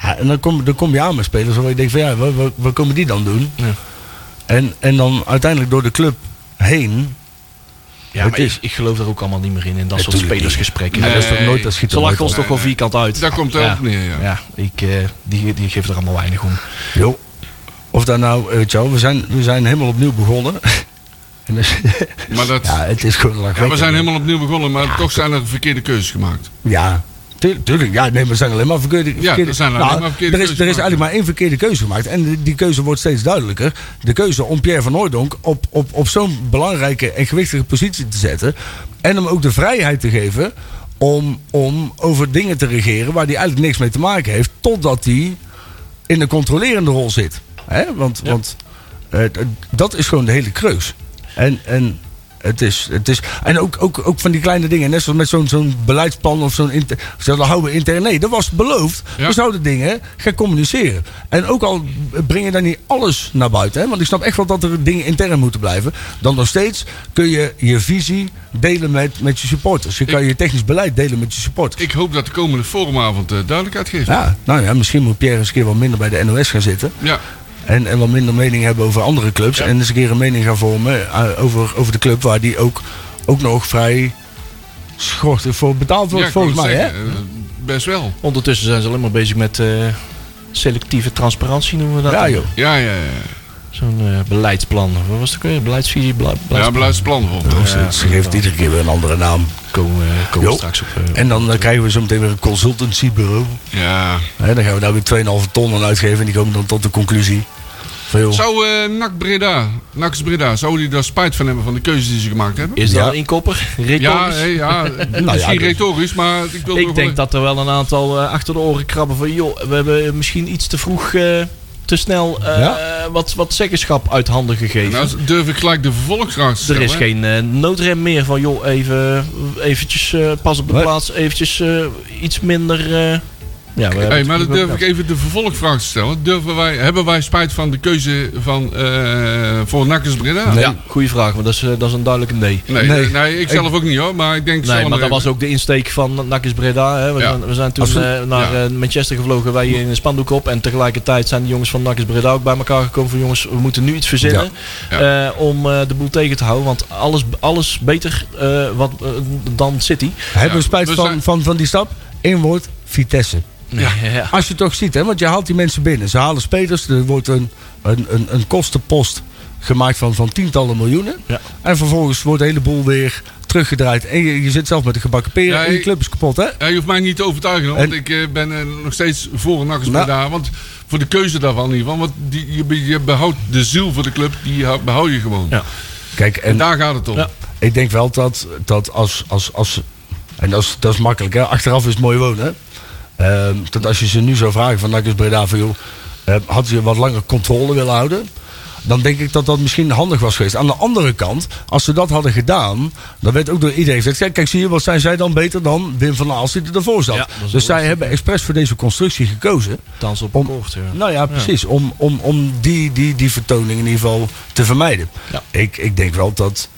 Speaker 3: Ja, en dan kom, dan kom je aan met spelers waar je denkt van ja, wat, wat, wat komen die dan doen?
Speaker 2: Ja.
Speaker 3: En, en dan uiteindelijk door de club heen.
Speaker 2: Ja,
Speaker 3: Het
Speaker 2: maar
Speaker 3: is-
Speaker 2: ik, ik geloof er ook allemaal niet meer in, in dat soort
Speaker 3: Natuurlijk niet.
Speaker 2: spelersgesprekken.
Speaker 3: Ja, dat is toch
Speaker 4: Nee.
Speaker 3: nooit, dat schiet
Speaker 2: Ze
Speaker 3: er nooit
Speaker 2: lachen ons
Speaker 3: op.
Speaker 2: toch wel vierkant uit.
Speaker 4: Daar komt het
Speaker 2: ja.
Speaker 4: ook neer, ja.
Speaker 2: Ja, ik, eh, die, die geven er allemaal weinig om.
Speaker 3: Joh. Of daar nou, weet je wel, we zijn, we zijn helemaal opnieuw begonnen. En dus-
Speaker 4: Maar dat,
Speaker 3: ja, het is gewoon
Speaker 4: ja, we
Speaker 3: lachwekkend.
Speaker 4: zijn helemaal opnieuw begonnen, maar toch zijn er verkeerde keuzes gemaakt.
Speaker 3: Ja, tu- tuurlijk. Ja, nee, maar er zijn alleen maar verkeerde, verkeerde- Nou,
Speaker 4: er zijn alleen maar verkeerde
Speaker 3: er is,
Speaker 4: keuzes
Speaker 3: Er is
Speaker 4: gemaakt.
Speaker 3: eigenlijk maar één verkeerde keuze gemaakt. En die- die keuze wordt steeds duidelijker. De keuze om Pierre van Hooijdonk op, op, op zo'n belangrijke en gewichtige positie te zetten. En hem ook de vrijheid te geven om, om over dingen te regeren waar hij eigenlijk niks mee te maken heeft. Totdat hij in de controlerende rol zit. Hè? Want, want eh, d- dat is gewoon de hele kreus. En, en, het is, het is, en ook, ook, ook van die kleine dingen. Net zoals met zo'n zo'n beleidsplan of zo'n... inter- of Zo, dat houden we intern. Nee, dat was beloofd. Dus
Speaker 4: Ja.
Speaker 3: We zouden dingen gaan communiceren. En ook al breng je dan niet alles naar buiten. Hè? Want ik snap echt wel dat er dingen intern moeten blijven. Dan nog steeds kun je je visie delen met, met je supporters. Je kan je technisch beleid delen met je supporters.
Speaker 4: Ik hoop dat de komende forumavond eh, duidelijkheid geeft.
Speaker 3: Ja, nou ja, misschien moet Pierre eens een keer wat minder bij de NOS gaan zitten.
Speaker 4: Ja.
Speaker 3: En, en wat minder mening hebben over andere clubs. En eens een keer een mening gaan vormen eh, over, over de club waar die ook, ook nog vrij schortig voor betaald wordt,
Speaker 4: Ja, ik wou
Speaker 3: volgens
Speaker 4: het
Speaker 3: mij. Hè?
Speaker 4: zeggen, eh, Best wel.
Speaker 2: Ondertussen zijn ze alleen maar bezig met eh, selectieve transparantie, noemen we dat.
Speaker 3: Ja,
Speaker 2: dan.
Speaker 3: joh.
Speaker 4: Ja, ja, ja.
Speaker 2: Zo'n eh, beleidsplan. Wat was het ook weer? Beleidsvisie, bla-
Speaker 4: Ja,
Speaker 2: beleidsplan.
Speaker 4: beleidsplan voor.
Speaker 3: Ze- Ze geeft iedere keer weer een andere naam.
Speaker 2: komen we, komen we
Speaker 3: Jo.
Speaker 2: straks op. eh,
Speaker 3: En dan eh, krijgen we zo meteen weer een consultancybureau.
Speaker 4: Ja.
Speaker 3: Hè, dan gaan we daar weer 2,5 ton aan uitgeven. En die komen dan tot de conclusie. Van, joh,
Speaker 4: Zou eh NAC Breda, NAC Breda, zou die daar spijt van hebben van de keuzes die ze gemaakt hebben?
Speaker 2: Is
Speaker 3: Ja.
Speaker 2: dat een inkopper? Retorisch?
Speaker 4: Ja,
Speaker 2: Nou
Speaker 4: hé, ja, misschien
Speaker 3: dus-
Speaker 4: retorisch, maar ik wil
Speaker 2: Ik
Speaker 4: nog
Speaker 2: denk
Speaker 4: wel-
Speaker 2: dat er wel een aantal eh, achter de oren krabben van... joh, we hebben misschien iets te vroeg, eh, te snel eh,
Speaker 3: Ja.
Speaker 2: wat, wat zeggenschap uit handen gegeven.
Speaker 4: Nou, durf ik gelijk de vervolgvraag te
Speaker 2: er
Speaker 4: stellen.
Speaker 2: is geen eh, noodrem meer van joh, even eventjes, eh, pas op de
Speaker 3: Nee.
Speaker 2: plaats, eventjes eh, iets minder... eh, ja, we hebben
Speaker 4: Hey,
Speaker 2: het
Speaker 4: maar dan
Speaker 2: goed
Speaker 4: durf ik
Speaker 2: gehad.
Speaker 4: even de vervolgvraag te stellen. Durven wij, hebben wij spijt van de keuze van, eh, voor Nakkers Breda?
Speaker 2: Ja, goede vraag, maar dat is, eh, dat is een duidelijke nee.
Speaker 4: Nee,
Speaker 3: Nee.
Speaker 4: nee. ik zelf ook niet hoor, maar ik denk
Speaker 2: Nee, maar dat was
Speaker 4: ook.
Speaker 2: ook de insteek van Nakis Breda. Hè. We,
Speaker 4: Ja.
Speaker 2: zijn, we zijn toen
Speaker 3: Als we-
Speaker 2: eh, naar
Speaker 4: Ja.
Speaker 2: eh, Manchester gevlogen, wij in een spandoek op. En tegelijkertijd zijn de jongens van Nakis Breda ook bij elkaar gekomen van jongens, we moeten nu iets verzinnen
Speaker 4: Ja.
Speaker 2: eh, om eh, de boel tegen te houden. Want alles, alles beter eh, wat, eh, dan City.
Speaker 3: hebben we
Speaker 4: Ja,
Speaker 3: spijt
Speaker 4: we
Speaker 3: van,
Speaker 4: zijn-
Speaker 3: van, van die stap? Eén woord, Vitesse.
Speaker 2: ja.
Speaker 3: Als je het toch ziet, hè, want je haalt die mensen binnen. Ze halen spelers, er wordt een, een, een, een kostenpost gemaakt van, van tientallen miljoenen.
Speaker 2: Ja.
Speaker 3: En vervolgens wordt de hele boel weer teruggedraaid. En je, je zit zelf met de gebakken peren
Speaker 4: Ja,
Speaker 3: en je
Speaker 4: ik-
Speaker 3: club is kapot, hè?
Speaker 4: Ja, je hoeft mij niet te overtuigen, hoor,
Speaker 3: En-
Speaker 4: want ik eh, ben eh, nog steeds voor NAC
Speaker 3: Nou.
Speaker 4: Breda. Want voor de keuze daarvan in ieder geval. Want die, je, be- je behoudt de ziel voor de club, die hou- behoud je gewoon.
Speaker 2: Ja.
Speaker 3: Kijk,
Speaker 4: En
Speaker 3: en
Speaker 4: daar gaat het om.
Speaker 2: Ja.
Speaker 3: ik denk wel dat, dat als, als, als... En dat is, dat is makkelijk, hè? Achteraf is het mooi wonen, hè? Ehm, dat als je ze nu zou vragen van Nakkers Breda van... Joh, eh, had je wat langer controle willen houden? Dan denk ik dat dat misschien handig was geweest. Aan de andere kant, als ze dat hadden gedaan... dan werd ook door iedereen gezegd... Kijk, kijk zie je, wat zijn zij dan beter dan Wim van Aals die ervoor zat?
Speaker 2: Ja, dat is
Speaker 3: dus zij
Speaker 2: lastig.
Speaker 3: hebben expres voor deze constructie gekozen.
Speaker 2: Dans op
Speaker 3: Om-
Speaker 2: koord. Ja.
Speaker 3: Nou ja, precies. Om, om, om die, die, die vertoning in ieder geval te vermijden.
Speaker 2: Ja.
Speaker 3: Ik, ik denk wel dat.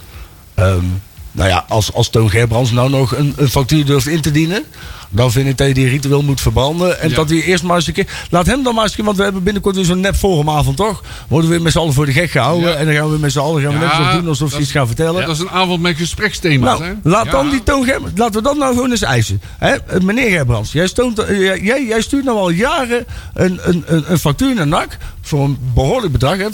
Speaker 3: ehm, nou ja, als, als Toon Gerbrands nou nog een, een factuur durft in te dienen. dan vind ik dat je die ritueel moet verbranden. En
Speaker 4: Ja.
Speaker 3: dat hij eerst maar eens een keer. Laat hem dan maar eens een keer, want we hebben binnenkort weer zo'n nep forumavond, toch? Worden we weer met z'n allen voor de gek gehouden.
Speaker 4: Ja.
Speaker 3: En dan gaan we met z'n allen gaan we
Speaker 4: Ja,
Speaker 3: net zo doen alsof ze
Speaker 4: dat-
Speaker 3: iets gaan vertellen.
Speaker 4: Dat is een avond met gespreksthema's.
Speaker 3: Nou,
Speaker 4: hè?
Speaker 3: laat
Speaker 4: Ja.
Speaker 3: dan die Toon Gerbrands- Laten we dat nou gewoon eens eisen. Hè? Eh, Meneer Gerbrands, jij, stoont, eh, jij- jij, jij stuurt nou al jaren een, een, een, een factuur naar NAC. Voor een behoorlijk bedrag. Hè?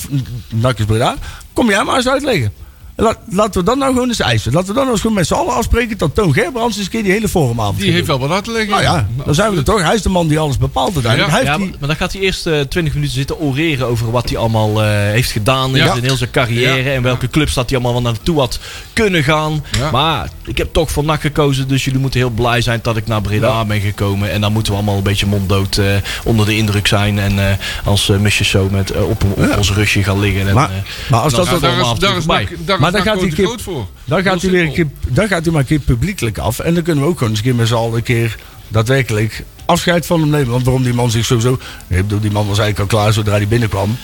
Speaker 3: NAC is Breda. Kom jij maar eens uitleggen. Laat, laten we dat nou gewoon eens eisen. Laten we dan nou eens gewoon met z'n allen afspreken dat Toon Gerbrands eens een keer die hele forumavond
Speaker 4: Die
Speaker 3: gaat
Speaker 4: heeft
Speaker 3: doen.
Speaker 4: wel wat uit te leggen.
Speaker 3: Nou ja, dan zijn we er toch. Hij is de man die alles bepaalt uiteindelijk.
Speaker 4: Ja.
Speaker 3: Hij
Speaker 2: Ja,
Speaker 3: heeft
Speaker 2: maar,
Speaker 3: die...
Speaker 2: maar dan gaat hij eerst eh 20 minuten zitten oreren over wat hij allemaal eh, heeft gedaan in
Speaker 4: Ja.
Speaker 2: zijn heel zijn carrière.
Speaker 4: Ja.
Speaker 2: En welke clubs dat hij allemaal wel naartoe had kunnen gaan.
Speaker 4: Ja.
Speaker 2: Maar ik heb toch voor NAC gekozen. Dus jullie moeten heel blij zijn dat ik naar Breda ben gekomen. En dan moeten we allemaal een beetje monddood eh, onder de indruk zijn. En eh, als eh, musjes zo met, eh, op, op ons rugje gaan liggen. En,
Speaker 3: Maar-
Speaker 2: eh,
Speaker 3: maar als
Speaker 2: dan
Speaker 3: dat-
Speaker 2: zijn we
Speaker 4: daar
Speaker 2: allemaal
Speaker 4: is, daar is
Speaker 2: natuurlijk
Speaker 4: NAC,
Speaker 2: bij.
Speaker 4: daar is
Speaker 3: Maar dan
Speaker 4: NAC
Speaker 3: gaat hij
Speaker 4: gewoon
Speaker 3: een
Speaker 4: te
Speaker 3: keer-
Speaker 4: groot voor.
Speaker 3: Dan gaat,
Speaker 4: Heel
Speaker 3: hij weer een keer,
Speaker 4: simpel.
Speaker 3: dan gaat hij maar een keer publiekelijk af. En dan kunnen we ook gewoon eens een keer met z'n allen een keer daadwerkelijk afscheid van hem nemen. Want waarom die man zich sowieso... Ik bedoel, die man was eigenlijk al klaar zodra hij binnenkwam.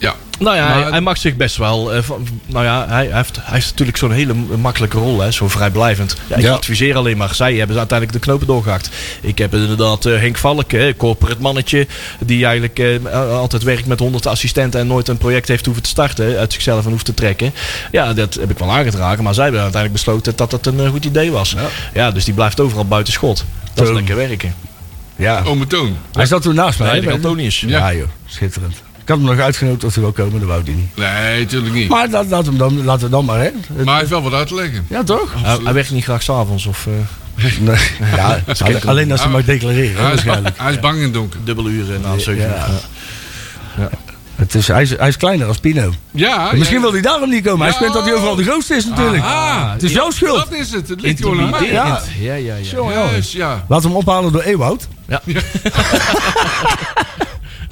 Speaker 4: Ja.
Speaker 2: Nou ja, hij,
Speaker 4: Maar-
Speaker 2: hij mag zich best wel. eh, van, nou ja, hij, hij heeft, hij heeft natuurlijk zo'n hele makkelijke rol, hè, zo vrijblijvend. Ja, ik
Speaker 3: Ja.
Speaker 2: adviseer alleen maar. Zij hebben ze uiteindelijk de knopen doorgehakt. Ik heb inderdaad eh, Henk Valk, hè, corporate mannetje, die eigenlijk eh, altijd werkt met 100 assistenten en nooit een project heeft hoeven te starten, hè, uit zichzelf en hoeft te trekken. Ja, dat heb ik wel aangedragen, maar zij hebben uiteindelijk besloten dat dat een eh, goed idee was. Ja. dus die blijft overal buiten schot. Dat is
Speaker 3: Zo.
Speaker 2: lekker werken.
Speaker 3: Ja.
Speaker 4: Ome Toon.
Speaker 3: Hij zat toen naast mij.
Speaker 2: Bij
Speaker 3: hè,
Speaker 2: de
Speaker 3: bij de-
Speaker 2: Antonius.
Speaker 3: Ja, joh. Schitterend. Ik had hem nog uitgenodigd of hij wil komen, dat wou hij niet.
Speaker 4: Nee, natuurlijk niet. Maar,
Speaker 3: Maar laat, laat hem dan, laten we dan maar, hè.
Speaker 4: hij heeft wel wat uit te leggen.
Speaker 3: Ja, toch?
Speaker 2: Hij, hij werkt niet graag s'avonds of eh,
Speaker 3: Nee. Ja, alleen- alleen als hij mag declareren, hè,
Speaker 4: Hij is,
Speaker 3: waarschijnlijk.
Speaker 4: hij is bang in het donker.
Speaker 2: dubbele uren na zeven.
Speaker 3: Ja. Het is, hij, is, hij is kleiner als Pino.
Speaker 4: Oh, Ja,
Speaker 3: Misschien
Speaker 4: ja.
Speaker 3: wil hij daarom niet komen. Hij
Speaker 4: Ja.
Speaker 3: speelt dat hij overal de grootste is natuurlijk.
Speaker 4: Ah,
Speaker 3: het is jouw schuld.
Speaker 4: dat is het. Het ligt gewoon aan mij.
Speaker 3: Ja.
Speaker 2: Intimiderend. Ja, ja, ja.
Speaker 3: Jongen, jongen.
Speaker 4: Juist, ja.
Speaker 3: Laat hem ophalen door Ewoud.
Speaker 2: Ja.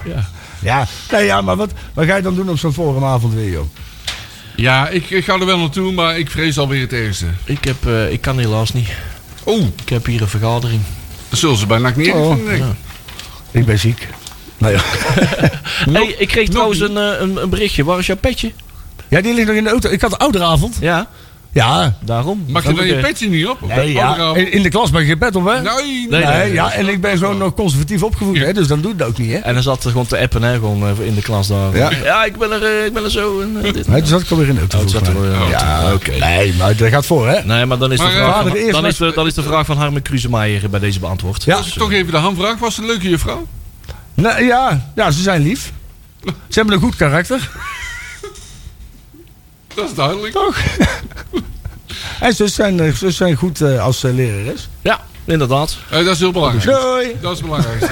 Speaker 2: Ja.
Speaker 3: ja. Nee, ja, maar wat, wat ga je dan doen op zo'n forumavond weer, joh?
Speaker 4: Ja, ik, ik ga er wel naartoe, maar ik vrees alweer het ergste.
Speaker 2: Ik, heb, eh, ik kan helaas niet.
Speaker 4: Oeh,
Speaker 2: Ik heb hier een vergadering.
Speaker 4: dat zullen ze bijna niet
Speaker 3: Oh,
Speaker 4: oh, vinden. denk ik.
Speaker 3: Ik ben ziek. Nou ja.
Speaker 2: hey, ik kreeg trouwens een, eh, een, een berichtje. Waar is jouw petje?
Speaker 3: ja, die ligt nog in de auto. Ik had een ouderavond.
Speaker 2: Ja,
Speaker 3: Ja.
Speaker 2: daarom.
Speaker 4: Mag je
Speaker 2: Dan
Speaker 4: dan
Speaker 2: moet
Speaker 4: je
Speaker 2: ik,
Speaker 4: petje niet op? Of
Speaker 3: Nee, ja.
Speaker 4: Anderhalf?
Speaker 3: In, in de klas ben ik geen pet op, hè?
Speaker 4: Nee,
Speaker 2: Nee.
Speaker 4: nee.
Speaker 3: Nee, ja, en ik ben gewoon nog conservatief opgevoed, hè, dus dan doe ik dat ook niet, hè?
Speaker 2: eh, En dan zat er gewoon te appen, hè, gewoon eh, in de klas daar.
Speaker 3: Ja.
Speaker 2: Ja, ik, ben er, eh, ik ben er zo. En, eh, dit.
Speaker 3: Nee, dus toen zat ik alweer in de auto.
Speaker 2: Oh, het zat
Speaker 3: volgens mij.
Speaker 2: er wel, ja.
Speaker 3: ja, oké. Nee, maar dat gaat voor, hè?
Speaker 2: Nee, maar dan is,
Speaker 4: Maar,
Speaker 2: de
Speaker 4: eh,
Speaker 2: vraag,
Speaker 3: vader
Speaker 2: van-
Speaker 3: eerst
Speaker 2: dan,
Speaker 3: maar-
Speaker 2: is de, dan is de vraag van Harmen Kruzemeijer bij deze beantwoord.
Speaker 3: Ja.
Speaker 2: Dus, eh,
Speaker 4: Toch even de hamvraag. Was het een leuke juffrouw?
Speaker 3: Nou, ja, ja, ze zijn lief. Ze hebben een goed karakter.
Speaker 4: Dat is duidelijk.
Speaker 3: En ze zijn, eh, ze zijn goed eh, als eh, lerares.
Speaker 2: ja, inderdaad.
Speaker 4: Eh, dat is heel belangrijk.
Speaker 3: Doei!
Speaker 4: Dat is het belangrijkste.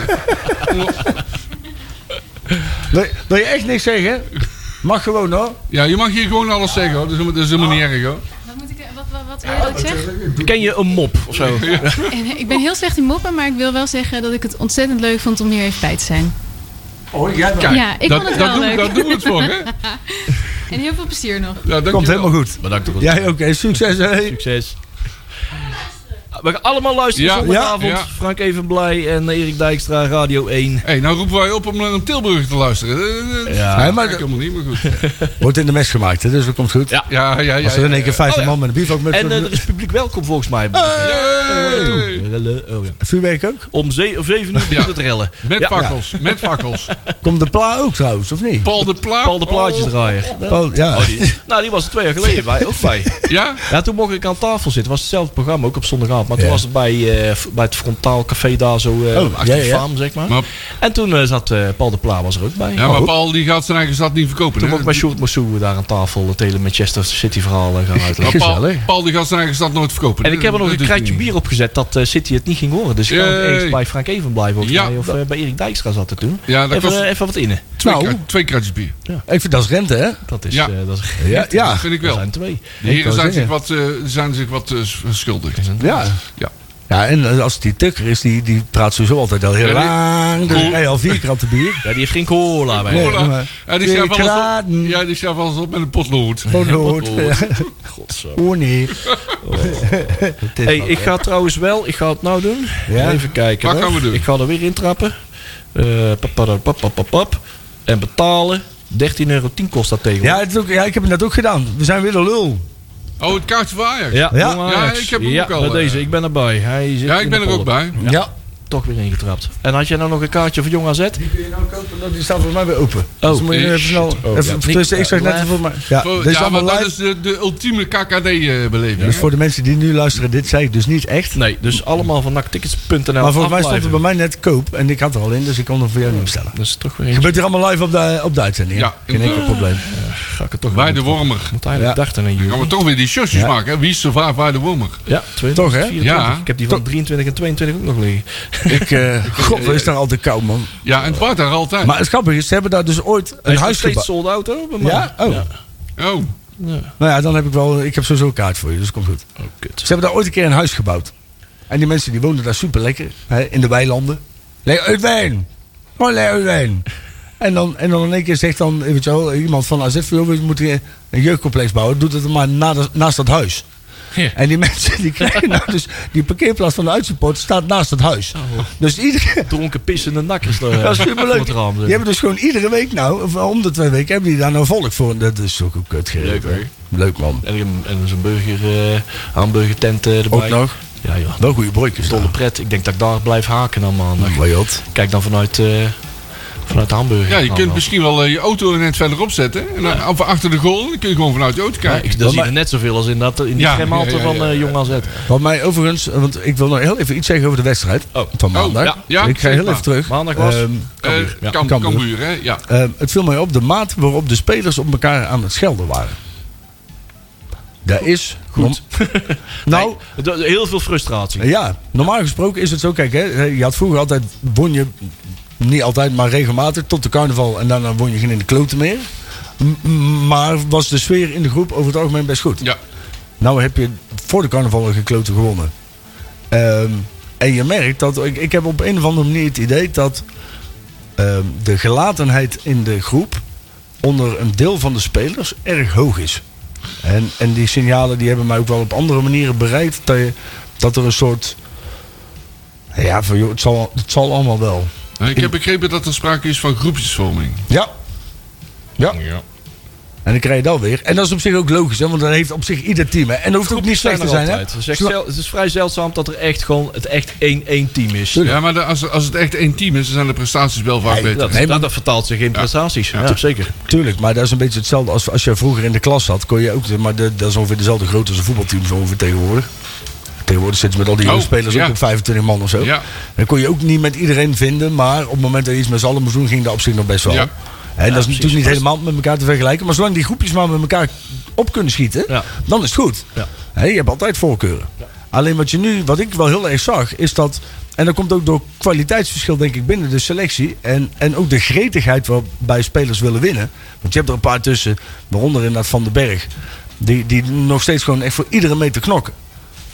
Speaker 3: Wil, wil je echt niks zeggen? Mag gewoon hoor.
Speaker 4: Ja, je mag hier gewoon alles zeggen hoor. Dat is helemaal, dat is helemaal niet erg hoor.
Speaker 6: Wat, moet ik, eh, wat, wat, wat wil je dat ik zeg?
Speaker 2: Ken je een mop of zo?
Speaker 6: En, Ik ben heel slecht in moppen, maar ik wil wel zeggen dat ik het ontzettend leuk vond om hier even bij te zijn.
Speaker 3: Oh, jij
Speaker 4: Kijk,
Speaker 6: Ja, ik
Speaker 4: dat,
Speaker 6: vond het
Speaker 4: dat
Speaker 6: wel
Speaker 4: doen,
Speaker 6: leuk.
Speaker 4: Daar doen we het voor hè.
Speaker 6: En heel veel plezier nog.
Speaker 4: Ja, dank je
Speaker 3: Komt
Speaker 4: wel.
Speaker 3: helemaal goed.
Speaker 2: Bedankt. Rob.
Speaker 3: Jij ook, hè. succes. hè.
Speaker 2: Succes. We gaan allemaal luisteren
Speaker 4: Ja.
Speaker 2: zondagavond.
Speaker 4: Ja.
Speaker 2: Frank Evenblij en Erik Dijkstra, Radio 1.
Speaker 4: Hé, nou roepen wij op om naar Tilburg te luisteren. Eh, eh,
Speaker 2: Ja.
Speaker 4: Dat
Speaker 3: Nee,
Speaker 4: maar
Speaker 3: maar,
Speaker 4: helemaal niet meer goed.
Speaker 3: wordt in de mes gemaakt, hè, dus dat komt goed.
Speaker 2: Ja.
Speaker 4: Ja, ja, ja.
Speaker 3: Als er in één keer 50
Speaker 2: Oh, ja.
Speaker 3: man met een Eh, bivakmuts
Speaker 2: En
Speaker 3: op
Speaker 2: eh,
Speaker 3: de-
Speaker 2: er is publiek welkom volgens mij.
Speaker 4: Yay!
Speaker 2: Oh, ja.
Speaker 3: Vuurwerk ook?
Speaker 2: Om 7 uur
Speaker 4: Ja.
Speaker 2: moet het rellen.
Speaker 4: Met
Speaker 2: Ja.
Speaker 4: fakkels, met fakkels.
Speaker 3: Komt de pla ook trouwens, of niet?
Speaker 4: Paul de Plaat.
Speaker 2: Paul de plaatjesdraaier.
Speaker 3: Paul, ja.
Speaker 2: Nou, die was er twee jaar geleden bij, ook bij.
Speaker 4: Ja?
Speaker 2: Ja, toen mocht ik aan tafel zitten. Het was hetzelfde programma, ook op zondagavond. Maar toen
Speaker 3: Ja.
Speaker 2: was het bij, eh, f- bij het frontaal café daar zo eh
Speaker 3: Oh,
Speaker 2: achter
Speaker 3: ja,
Speaker 2: de
Speaker 3: ja.
Speaker 2: faam, zeg maar.
Speaker 4: Maar,
Speaker 2: En toen eh, zat eh, Paul de Pla was er ook bij.
Speaker 4: ja, maar Paul die gaat zijn eigen stad niet verkopen.
Speaker 2: Toen
Speaker 4: hè?
Speaker 2: ook bij Sjoerd Massou daar aan tafel het hele Manchester City verhaal eh, gaan uitleggen.
Speaker 4: Maar Paul,
Speaker 3: Gezellig.
Speaker 4: Paul die gaat zijn eigen stad nooit verkopen.
Speaker 2: En ik heb er nog
Speaker 4: Dat
Speaker 2: een
Speaker 4: doet hij
Speaker 2: kratje
Speaker 4: niet.
Speaker 2: bier op gezet dat eh, City het niet ging horen. Dus ik kan ook
Speaker 4: Yay.
Speaker 2: ergens bij Frank Even blijven volgens
Speaker 4: Ja.
Speaker 2: mij. Of eh, bij Erik Dijkstra zat het toen.
Speaker 4: Ja, dat
Speaker 2: even,
Speaker 4: kost-
Speaker 2: eh, even wat innen.
Speaker 4: Twee,
Speaker 3: Nou.
Speaker 4: krat- twee kratjes bier.
Speaker 3: Ik vind dat is rente, hè?
Speaker 2: Dat is,
Speaker 4: Ja.
Speaker 2: eh, dat is
Speaker 3: Ja, ja.
Speaker 4: Dat vind ik
Speaker 2: dat
Speaker 4: wel.
Speaker 2: zijn twee.
Speaker 4: De heren
Speaker 3: wou
Speaker 4: zijn zich,
Speaker 3: zeggen.
Speaker 4: wat, eh, zijn zich wat eh, s- schuldig.
Speaker 3: Ja.
Speaker 4: Ja.
Speaker 3: Ja, en eh, als die tukker is, die, die praat sowieso altijd al heel
Speaker 4: Ja, die-
Speaker 3: lang. Dus
Speaker 4: Cool.
Speaker 3: hij al vier kranten bier.
Speaker 2: Ja, die heeft geen cola bij.
Speaker 3: Nee.
Speaker 4: Hola.
Speaker 3: maar-
Speaker 4: En die
Speaker 3: Twee
Speaker 4: schrijft alles op,
Speaker 3: kraten.
Speaker 4: ja, die schrijft alles op met een potlood.
Speaker 3: Gewoon hoort.
Speaker 2: Godzo.
Speaker 3: Oh nee.
Speaker 2: Hey, ik ga trouwens wel, ik ga het nou doen.
Speaker 3: Ja?
Speaker 2: Even kijken.
Speaker 4: Wat
Speaker 2: hoor.
Speaker 4: gaan we doen?
Speaker 2: Ik ga er weer intrappen. Eh, papadapapapapap. En betalen. 13,10 euro kost dat tegen.
Speaker 3: Ja, het is ook, ja, ik heb het net ook gedaan. We zijn weer een lul.
Speaker 4: Oh, het kaartje van Ajax.
Speaker 2: Ja,
Speaker 3: Ja.
Speaker 2: jongen
Speaker 4: Ja,
Speaker 2: Ajax.
Speaker 4: ik heb hem
Speaker 2: Ja,
Speaker 4: ook al,
Speaker 2: bij
Speaker 4: eh.
Speaker 2: deze, ik ben erbij. Hij zit
Speaker 4: Ja,
Speaker 2: in
Speaker 4: ik
Speaker 2: de
Speaker 4: ben er ook
Speaker 2: polder.
Speaker 4: bij.
Speaker 3: Ja.
Speaker 2: Toch weer ingetrapt. En had jij nou nog een kaartje voor Jong AZ?
Speaker 3: Die kun je nou kopen, dat- die staat volgens mij weer open. Oh, dus moet je
Speaker 4: eh,
Speaker 3: even snel.
Speaker 2: shit. Oh,
Speaker 3: even,
Speaker 2: ja.
Speaker 3: tussen, ik zeg net
Speaker 2: Live.
Speaker 3: even voor mij. Ja,
Speaker 4: Voor-
Speaker 3: dit is
Speaker 4: ja, maar
Speaker 3: allemaal
Speaker 4: dat
Speaker 3: live.
Speaker 4: is de, de ultieme KKD-beleving.
Speaker 3: Dus voor de mensen die nu luisteren, dit zei ik dus niet echt.
Speaker 2: Nee, dus allemaal van naktickets.nl.
Speaker 3: Maar volgens mij stond
Speaker 2: afblijven.
Speaker 3: het bij mij net koop en ik had er al in, dus ik kon er voor jou niet bestellen.
Speaker 2: Dat is toch weer eentje.
Speaker 3: Gebeurt hier allemaal live op de, op de uitzending? hè?
Speaker 4: Ja.
Speaker 3: Geen enkel probleem.
Speaker 2: Ga ik het toch
Speaker 4: Wij
Speaker 2: weer
Speaker 4: de
Speaker 2: doen.
Speaker 4: Wormer.
Speaker 2: Want eigenlijk
Speaker 3: Ja.
Speaker 2: dacht aan een
Speaker 4: Dan gaan we
Speaker 2: juli.
Speaker 4: toch weer die shirtjes
Speaker 3: Ja.
Speaker 4: maken. hè? Wie survive waar de Wormer?
Speaker 2: Ja, 20,
Speaker 3: Toch, hè?
Speaker 2: 24.
Speaker 4: Ja.
Speaker 2: Ik heb die van 23 en 22 ook nog liggen.
Speaker 3: Ik, eh, god, wat is daar altijd koud, man.
Speaker 4: Ja, en het part daar altijd.
Speaker 3: Maar het grappige is, ze hebben daar dus ooit
Speaker 2: Hij
Speaker 3: een
Speaker 2: is nog
Speaker 3: huis
Speaker 2: steeds
Speaker 3: gebouwd.
Speaker 2: sold out hoor. bij mij.
Speaker 3: Ja? Oh.
Speaker 4: Oh,
Speaker 3: Nou ja, dan heb ik wel, ik heb sowieso een kaart voor je, dus komt goed.
Speaker 2: Oh, kut.
Speaker 3: Ze hebben daar ooit een keer een huis gebouwd. En die mensen die woonden daar super lekker. In de weilanden. Lee uit wijn. Gewoon lee uit wijn. En dan, en dan in één keer zegt dan weet je wel, iemand van AZ... van, joh, we moeten een jeugdcomplex bouwen. Doet het maar na de- naast dat huis.
Speaker 2: Ja.
Speaker 3: En die mensen die krijgen nou dus... Die parkeerplaats van de uitsupport staat naast het huis.
Speaker 2: Oh.
Speaker 3: Dus iedere...
Speaker 2: Dronken pissende nakkers. eh,
Speaker 3: Dat is
Speaker 2: voor
Speaker 3: superleuk.
Speaker 2: het raam, zeg.
Speaker 3: Die hebben dus gewoon iedere week nou... Of om de twee weken hebben die daar nou volk voor. En Dat is ook een kut geregeld,
Speaker 2: Leuk, hoor.
Speaker 3: hè. Leuk man.
Speaker 2: En, een- en zo'n burger, eh, hamburgertent eh, erbij.
Speaker 3: Ook nog.
Speaker 2: Ja joh,
Speaker 3: Wel goede broodjes.
Speaker 2: dolle pret. Ik denk dat ik daar blijf haken dan man.
Speaker 3: Wat jot.
Speaker 2: Kijk dan vanuit eh, Vanuit Hamburg.
Speaker 4: Ja, je
Speaker 2: Nou,
Speaker 4: kunt
Speaker 2: wel.
Speaker 4: misschien wel eh, je auto net verderop zetten. En dan, Of achter de goal. Dan kun je gewoon vanuit je auto
Speaker 7: Ja,
Speaker 4: kijken.
Speaker 7: ik, dan zie je er net zoveel als in, dat, in die
Speaker 4: Ja,
Speaker 7: schermhalte
Speaker 4: ja, ja, ja,
Speaker 7: van eh
Speaker 4: ja.
Speaker 7: Jong AZ.
Speaker 3: Wat mij overigens, want ik wil nog heel even iets zeggen over de wedstrijd
Speaker 7: Oh.
Speaker 3: van maandag.
Speaker 4: ja, ja,
Speaker 3: ik ga heel
Speaker 4: zeg maar.
Speaker 3: even terug.
Speaker 7: Maandag was?
Speaker 3: Ehm,
Speaker 4: Eh,
Speaker 7: Ja,
Speaker 4: Kam-
Speaker 3: Cambuur.
Speaker 4: Cambuur, hè? Ja.
Speaker 3: ehm, het viel mij op de maat waarop de spelers op elkaar aan het schelden waren. Dat is goed. nou,
Speaker 7: Het- het- Heel veel frustratie.
Speaker 3: Ja, normaal gesproken is het zo. Kijk, hè, je had vroeger altijd, won je niet altijd, maar regelmatig tot de carnaval. En daarna won je geen in de kloten meer. M- m- maar was de sfeer in de groep over het algemeen best goed.
Speaker 4: Ja.
Speaker 3: Nou heb je voor de carnaval een gekloten gewonnen. Ehm, en je merkt dat, ik, ik heb op een of andere manier het idee dat ehm, de gelatenheid in de groep onder een deel van de spelers erg hoog is. En, en die signalen die hebben mij ook wel op andere manieren bereikt dat, je, dat er een soort... Ja, van, joh, het, zal, het zal allemaal wel.
Speaker 4: Nou, Ik heb begrepen dat er sprake is van groepjesvorming.
Speaker 3: Ja. Ja. En dan krijg je dat weer. En dat is op zich ook logisch, hè, want dat heeft op zich ieder team. Hè. En dat hoeft ook niet slecht te zijn. Hè.
Speaker 7: Het is, echt
Speaker 3: Zolang-
Speaker 7: zel- het is vrij zeldzaam dat er echt gewoon het echt 1-1 team is.
Speaker 4: Ja, maar de- als, als het echt één team is, dan zijn de prestaties wel vaak beter.
Speaker 7: Dat,
Speaker 3: Nee, maar-
Speaker 7: dat, dat vertaalt zich in prestaties. Ja, zeker.
Speaker 3: Tuurlijk, maar dat is een beetje hetzelfde als als je vroeger in de klas zat. Kon je ook, maar de- dat is ongeveer dezelfde grootte als een voetbalteam zo ongeveer tegenwoordig. Tegenwoordig zitten ze met al die jonge
Speaker 4: Oh,
Speaker 3: spelers
Speaker 4: ja.
Speaker 3: ook op 25 man of zo.
Speaker 4: Ja.
Speaker 3: Dan kon je ook niet met iedereen vinden, maar op het moment dat je iets met z'n allen moest doen, ging dat op zich nog best wel.
Speaker 4: Ja.
Speaker 3: En dat is
Speaker 7: precies.
Speaker 3: natuurlijk niet helemaal met elkaar te vergelijken, maar zolang die groepjes maar met elkaar op kunnen schieten,
Speaker 7: Ja.
Speaker 3: dan is het goed.
Speaker 7: Ja.
Speaker 3: Hè, je hebt altijd voorkeuren. Alleen wat je nu, wat ik wel heel erg zag, is dat. En dat komt ook door kwaliteitsverschil, denk ik, binnen de selectie. En, en ook de gretigheid waarbij spelers willen winnen. Want je hebt er een paar tussen, waaronder inderdaad Van den Berg. Die, die nog steeds gewoon echt voor iedere meter knokken.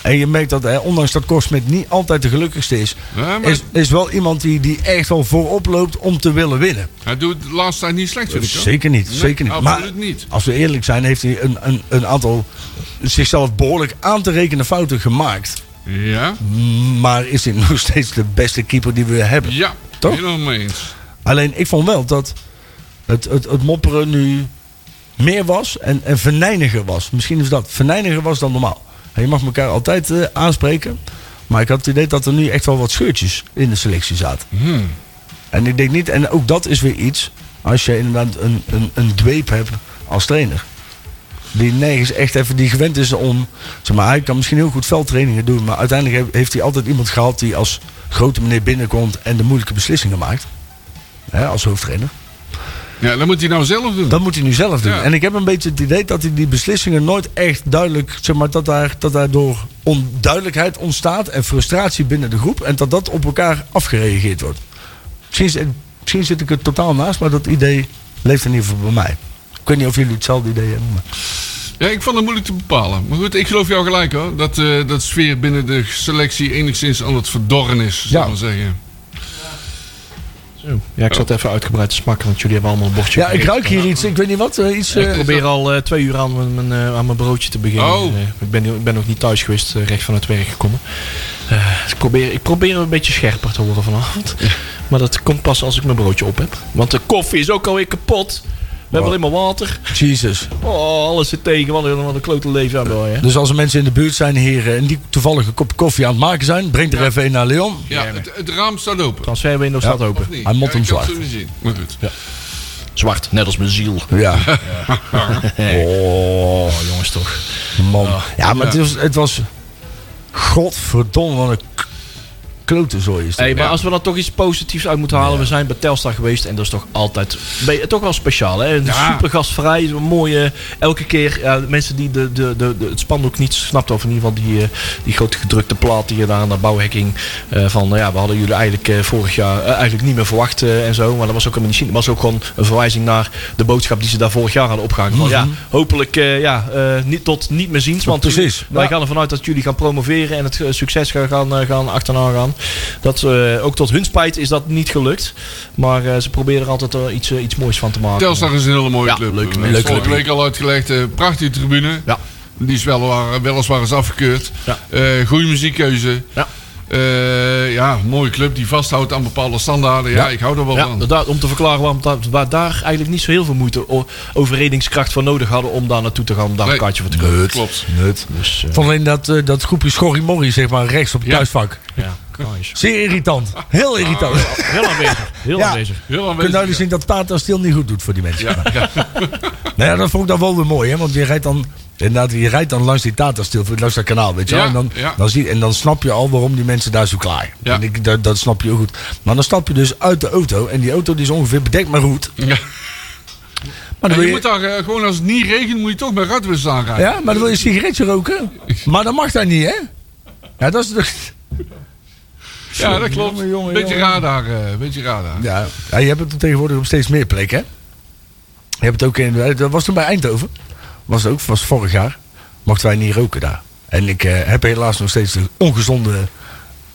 Speaker 3: En je merkt dat, hè, ondanks dat Korsmit niet altijd de gelukkigste is,
Speaker 4: Ja, maar-
Speaker 3: is, is wel iemand die, die echt wel voorop loopt om te willen winnen.
Speaker 4: Hij doet de laatste tijd niet slecht, vind ik. hoor.
Speaker 3: Eh, Zeker niet,
Speaker 4: Nee,
Speaker 3: zeker niet.
Speaker 4: Absoluut niet.
Speaker 3: Als we eerlijk zijn, heeft hij een, een, een aantal zichzelf behoorlijk aan te rekenen fouten gemaakt.
Speaker 4: Ja,
Speaker 3: Maar is hij nog steeds de beste keeper die we hebben?
Speaker 4: ja.
Speaker 3: Toch?
Speaker 4: helemaal mee eens.
Speaker 3: Alleen ik vond wel dat het, het, het mopperen nu meer was en, en verneiniger was. Misschien is dat verneiniger was dan normaal. En je mag elkaar altijd eh, aanspreken. Maar ik had het idee dat er nu echt wel wat scheurtjes in de selectie zaten. En ik denk niet, en ook dat is weer iets als je inderdaad een, een, een dweep hebt als trainer. Die nergens echt even die gewend is om. Zeg maar, hij kan misschien heel goed veldtrainingen doen. Maar uiteindelijk heeft- heeft hij altijd iemand gehad die als grote meneer binnenkomt en de moeilijke beslissingen maakt. Hè, als hoofdtrainer.
Speaker 4: Ja, dat moet hij nou zelf doen.
Speaker 3: Dat moet hij nu zelf doen.
Speaker 4: Ja.
Speaker 3: En ik heb een beetje het idee dat hij die beslissingen nooit echt duidelijk, zeg maar, dat, daar, dat daardoor onduidelijkheid ontstaat en frustratie binnen de groep. En dat dat op elkaar afgereageerd wordt. Misschien, is- misschien zit ik er totaal naast, maar dat idee leeft in ieder geval bij mij. Ik weet niet of jullie hetzelfde idee hebben. maar-
Speaker 4: Ja, ik vond het moeilijk te bepalen. Maar goed, ik geloof jou gelijk hoor. Dat eh, dat sfeer binnen de selectie enigszins aan het verdorren is, zou
Speaker 3: Ja.
Speaker 4: ik maar zeggen.
Speaker 2: Ja, ik zat even uitgebreid te smakken, want jullie hebben allemaal een bordje.
Speaker 3: Ja, ik
Speaker 2: gekregen.
Speaker 3: ruik hier iets. Ik weet niet wat. eh, iets,
Speaker 2: Ik
Speaker 3: eh,
Speaker 2: probeer al eh, twee uur aan mijn, mijn, eh, aan mijn broodje te beginnen.
Speaker 4: Oh.
Speaker 2: Eh, ik, ben, ik ben nog niet thuis geweest, eh, recht van het werk gekomen. Eh, dus ik, probeer, ik probeer een beetje scherper te worden vanavond. Maar dat komt pas als ik mijn broodje op heb. Want de koffie is ook alweer kapot. We hebben alleen maar water.
Speaker 3: Jesus.
Speaker 2: Oh, alles zit tegen. Wat een, wat een klote leven aan bij, hè?
Speaker 3: Dus als er mensen in de buurt zijn hier eh, en die toevallig een kop koffie aan het maken zijn, breng er even een naar Leon.
Speaker 4: Ja, het, het raam staat open.
Speaker 2: Transferwindow staat open.
Speaker 4: Of niet?
Speaker 3: Hij
Speaker 4: Ja,
Speaker 3: mot hem
Speaker 4: ik heb het
Speaker 3: zwart.
Speaker 4: zo niet zien. Maar goed.
Speaker 2: Zwart, net als mijn ziel.
Speaker 3: Ja. Oh,
Speaker 2: Jongens toch.
Speaker 3: Man. ja, maar Het, was, het was. Godverdomme, wat een k- klote zooi is dat.
Speaker 2: Hey, maar als we dan toch iets positiefs uit moeten halen. We zijn bij Telstar geweest en dat is toch altijd... Ben je, toch wel speciaal, hè?
Speaker 4: Ja.
Speaker 2: Super gastvrij, een mooie... Elke keer, ja, de mensen die de, de, de, de- het spandoek niet snapten... of in ieder geval die, eh, die grote gedrukte plaat die je daar aan de bouwhekking... eh, van, nou ja, we hadden jullie eigenlijk eh, vorig jaar eh, eigenlijk niet meer verwacht eh, en zo. Maar dat was ook helemaal niet zien. Dat was ook gewoon een verwijzing naar de boodschap die ze daar vorig jaar hadden opgehangen. Van, ja, hopelijk eh, ja, eh, niet, tot niet meer ziens. Want
Speaker 3: Precies.
Speaker 2: jullie- wij
Speaker 3: Ja.
Speaker 2: gaan ervan uit dat jullie gaan promoveren en het eh, succes gaan, gaan, eh, gaan achterna gaan. Dat, eh, ook tot hun spijt is dat niet gelukt. Maar eh, ze proberen er altijd eh, iets, eh, iets moois van te maken.
Speaker 4: Telstar is een hele mooie
Speaker 2: Ja,
Speaker 4: club.
Speaker 2: leuke
Speaker 4: Eh,
Speaker 2: mensen.
Speaker 4: Vorige week al uitgelegd. eh, prachtige tribune.
Speaker 2: Ja.
Speaker 4: Die is wel waar- weliswaar is afgekeurd.
Speaker 2: Ja.
Speaker 4: Eh, goede muziekkeuze.
Speaker 2: Ja.
Speaker 4: Eh, ja, mooie club die vasthoudt aan bepaalde standaarden. Ja, ik hou er wel
Speaker 2: Ja,
Speaker 4: van.
Speaker 2: inderdaad, om te verklaren waarom da- waar daar eigenlijk niet zo heel veel moeite o- overredingskracht voor nodig hadden om daar naartoe te gaan om daar
Speaker 4: Nee.
Speaker 2: een kaartje voor te kopen.
Speaker 4: Klopt.
Speaker 2: Nut. Dus, eh,
Speaker 3: Van alleen dat, eh, dat groepje schorrimorrie, zeg maar, rechts op het
Speaker 4: Ja.
Speaker 3: thuisvak.
Speaker 2: ja, nice.
Speaker 3: Zeer irritant. Heel irritant. Je
Speaker 8: Heel aanwezig. Heel
Speaker 3: Ja.
Speaker 8: aanwezig.
Speaker 4: Heel
Speaker 3: kunt
Speaker 4: aanwezig.
Speaker 3: duidelijk nou zien dat Tata stil niet goed doet voor die mensen.
Speaker 4: Ja, ja.
Speaker 3: Nou ja, dat vond ik dan wel weer mooi, hè? Want je rijdt dan. Inderdaad, je rijdt dan langs die Tata stil, langs dat kanaal, weet je wel.
Speaker 4: Ja,
Speaker 3: en, dan,
Speaker 4: ja.
Speaker 3: dan zie, en dan snap je al waarom die mensen daar zo klaar.
Speaker 4: Ja.
Speaker 3: En ik, dat, dat snap je heel goed. Maar dan stap je dus uit de auto en die auto die is ongeveer bedekt maar goed.
Speaker 4: Ja.
Speaker 3: Maar dan
Speaker 4: En
Speaker 3: wil
Speaker 4: je
Speaker 3: je,
Speaker 4: moet daar eh, gewoon als het niet regent, moet je toch met radwissers aanrijden.
Speaker 3: ja, maar dan wil je een sigaretje roken. Maar dat mag daar niet, hè? Ja, dat is toch-
Speaker 4: Ja, dat klopt.
Speaker 3: Jongen, jongen,
Speaker 4: beetje
Speaker 3: jongen.
Speaker 4: radar, eh, beetje radar.
Speaker 3: Ja. ja, je hebt het tegenwoordig op steeds meer plekken, hè? Je hebt het ook in. Dat was toen bij Eindhoven. Was ook, was vorig jaar. Mochten wij niet roken daar. En ik eh, heb helaas nog steeds de ongezonde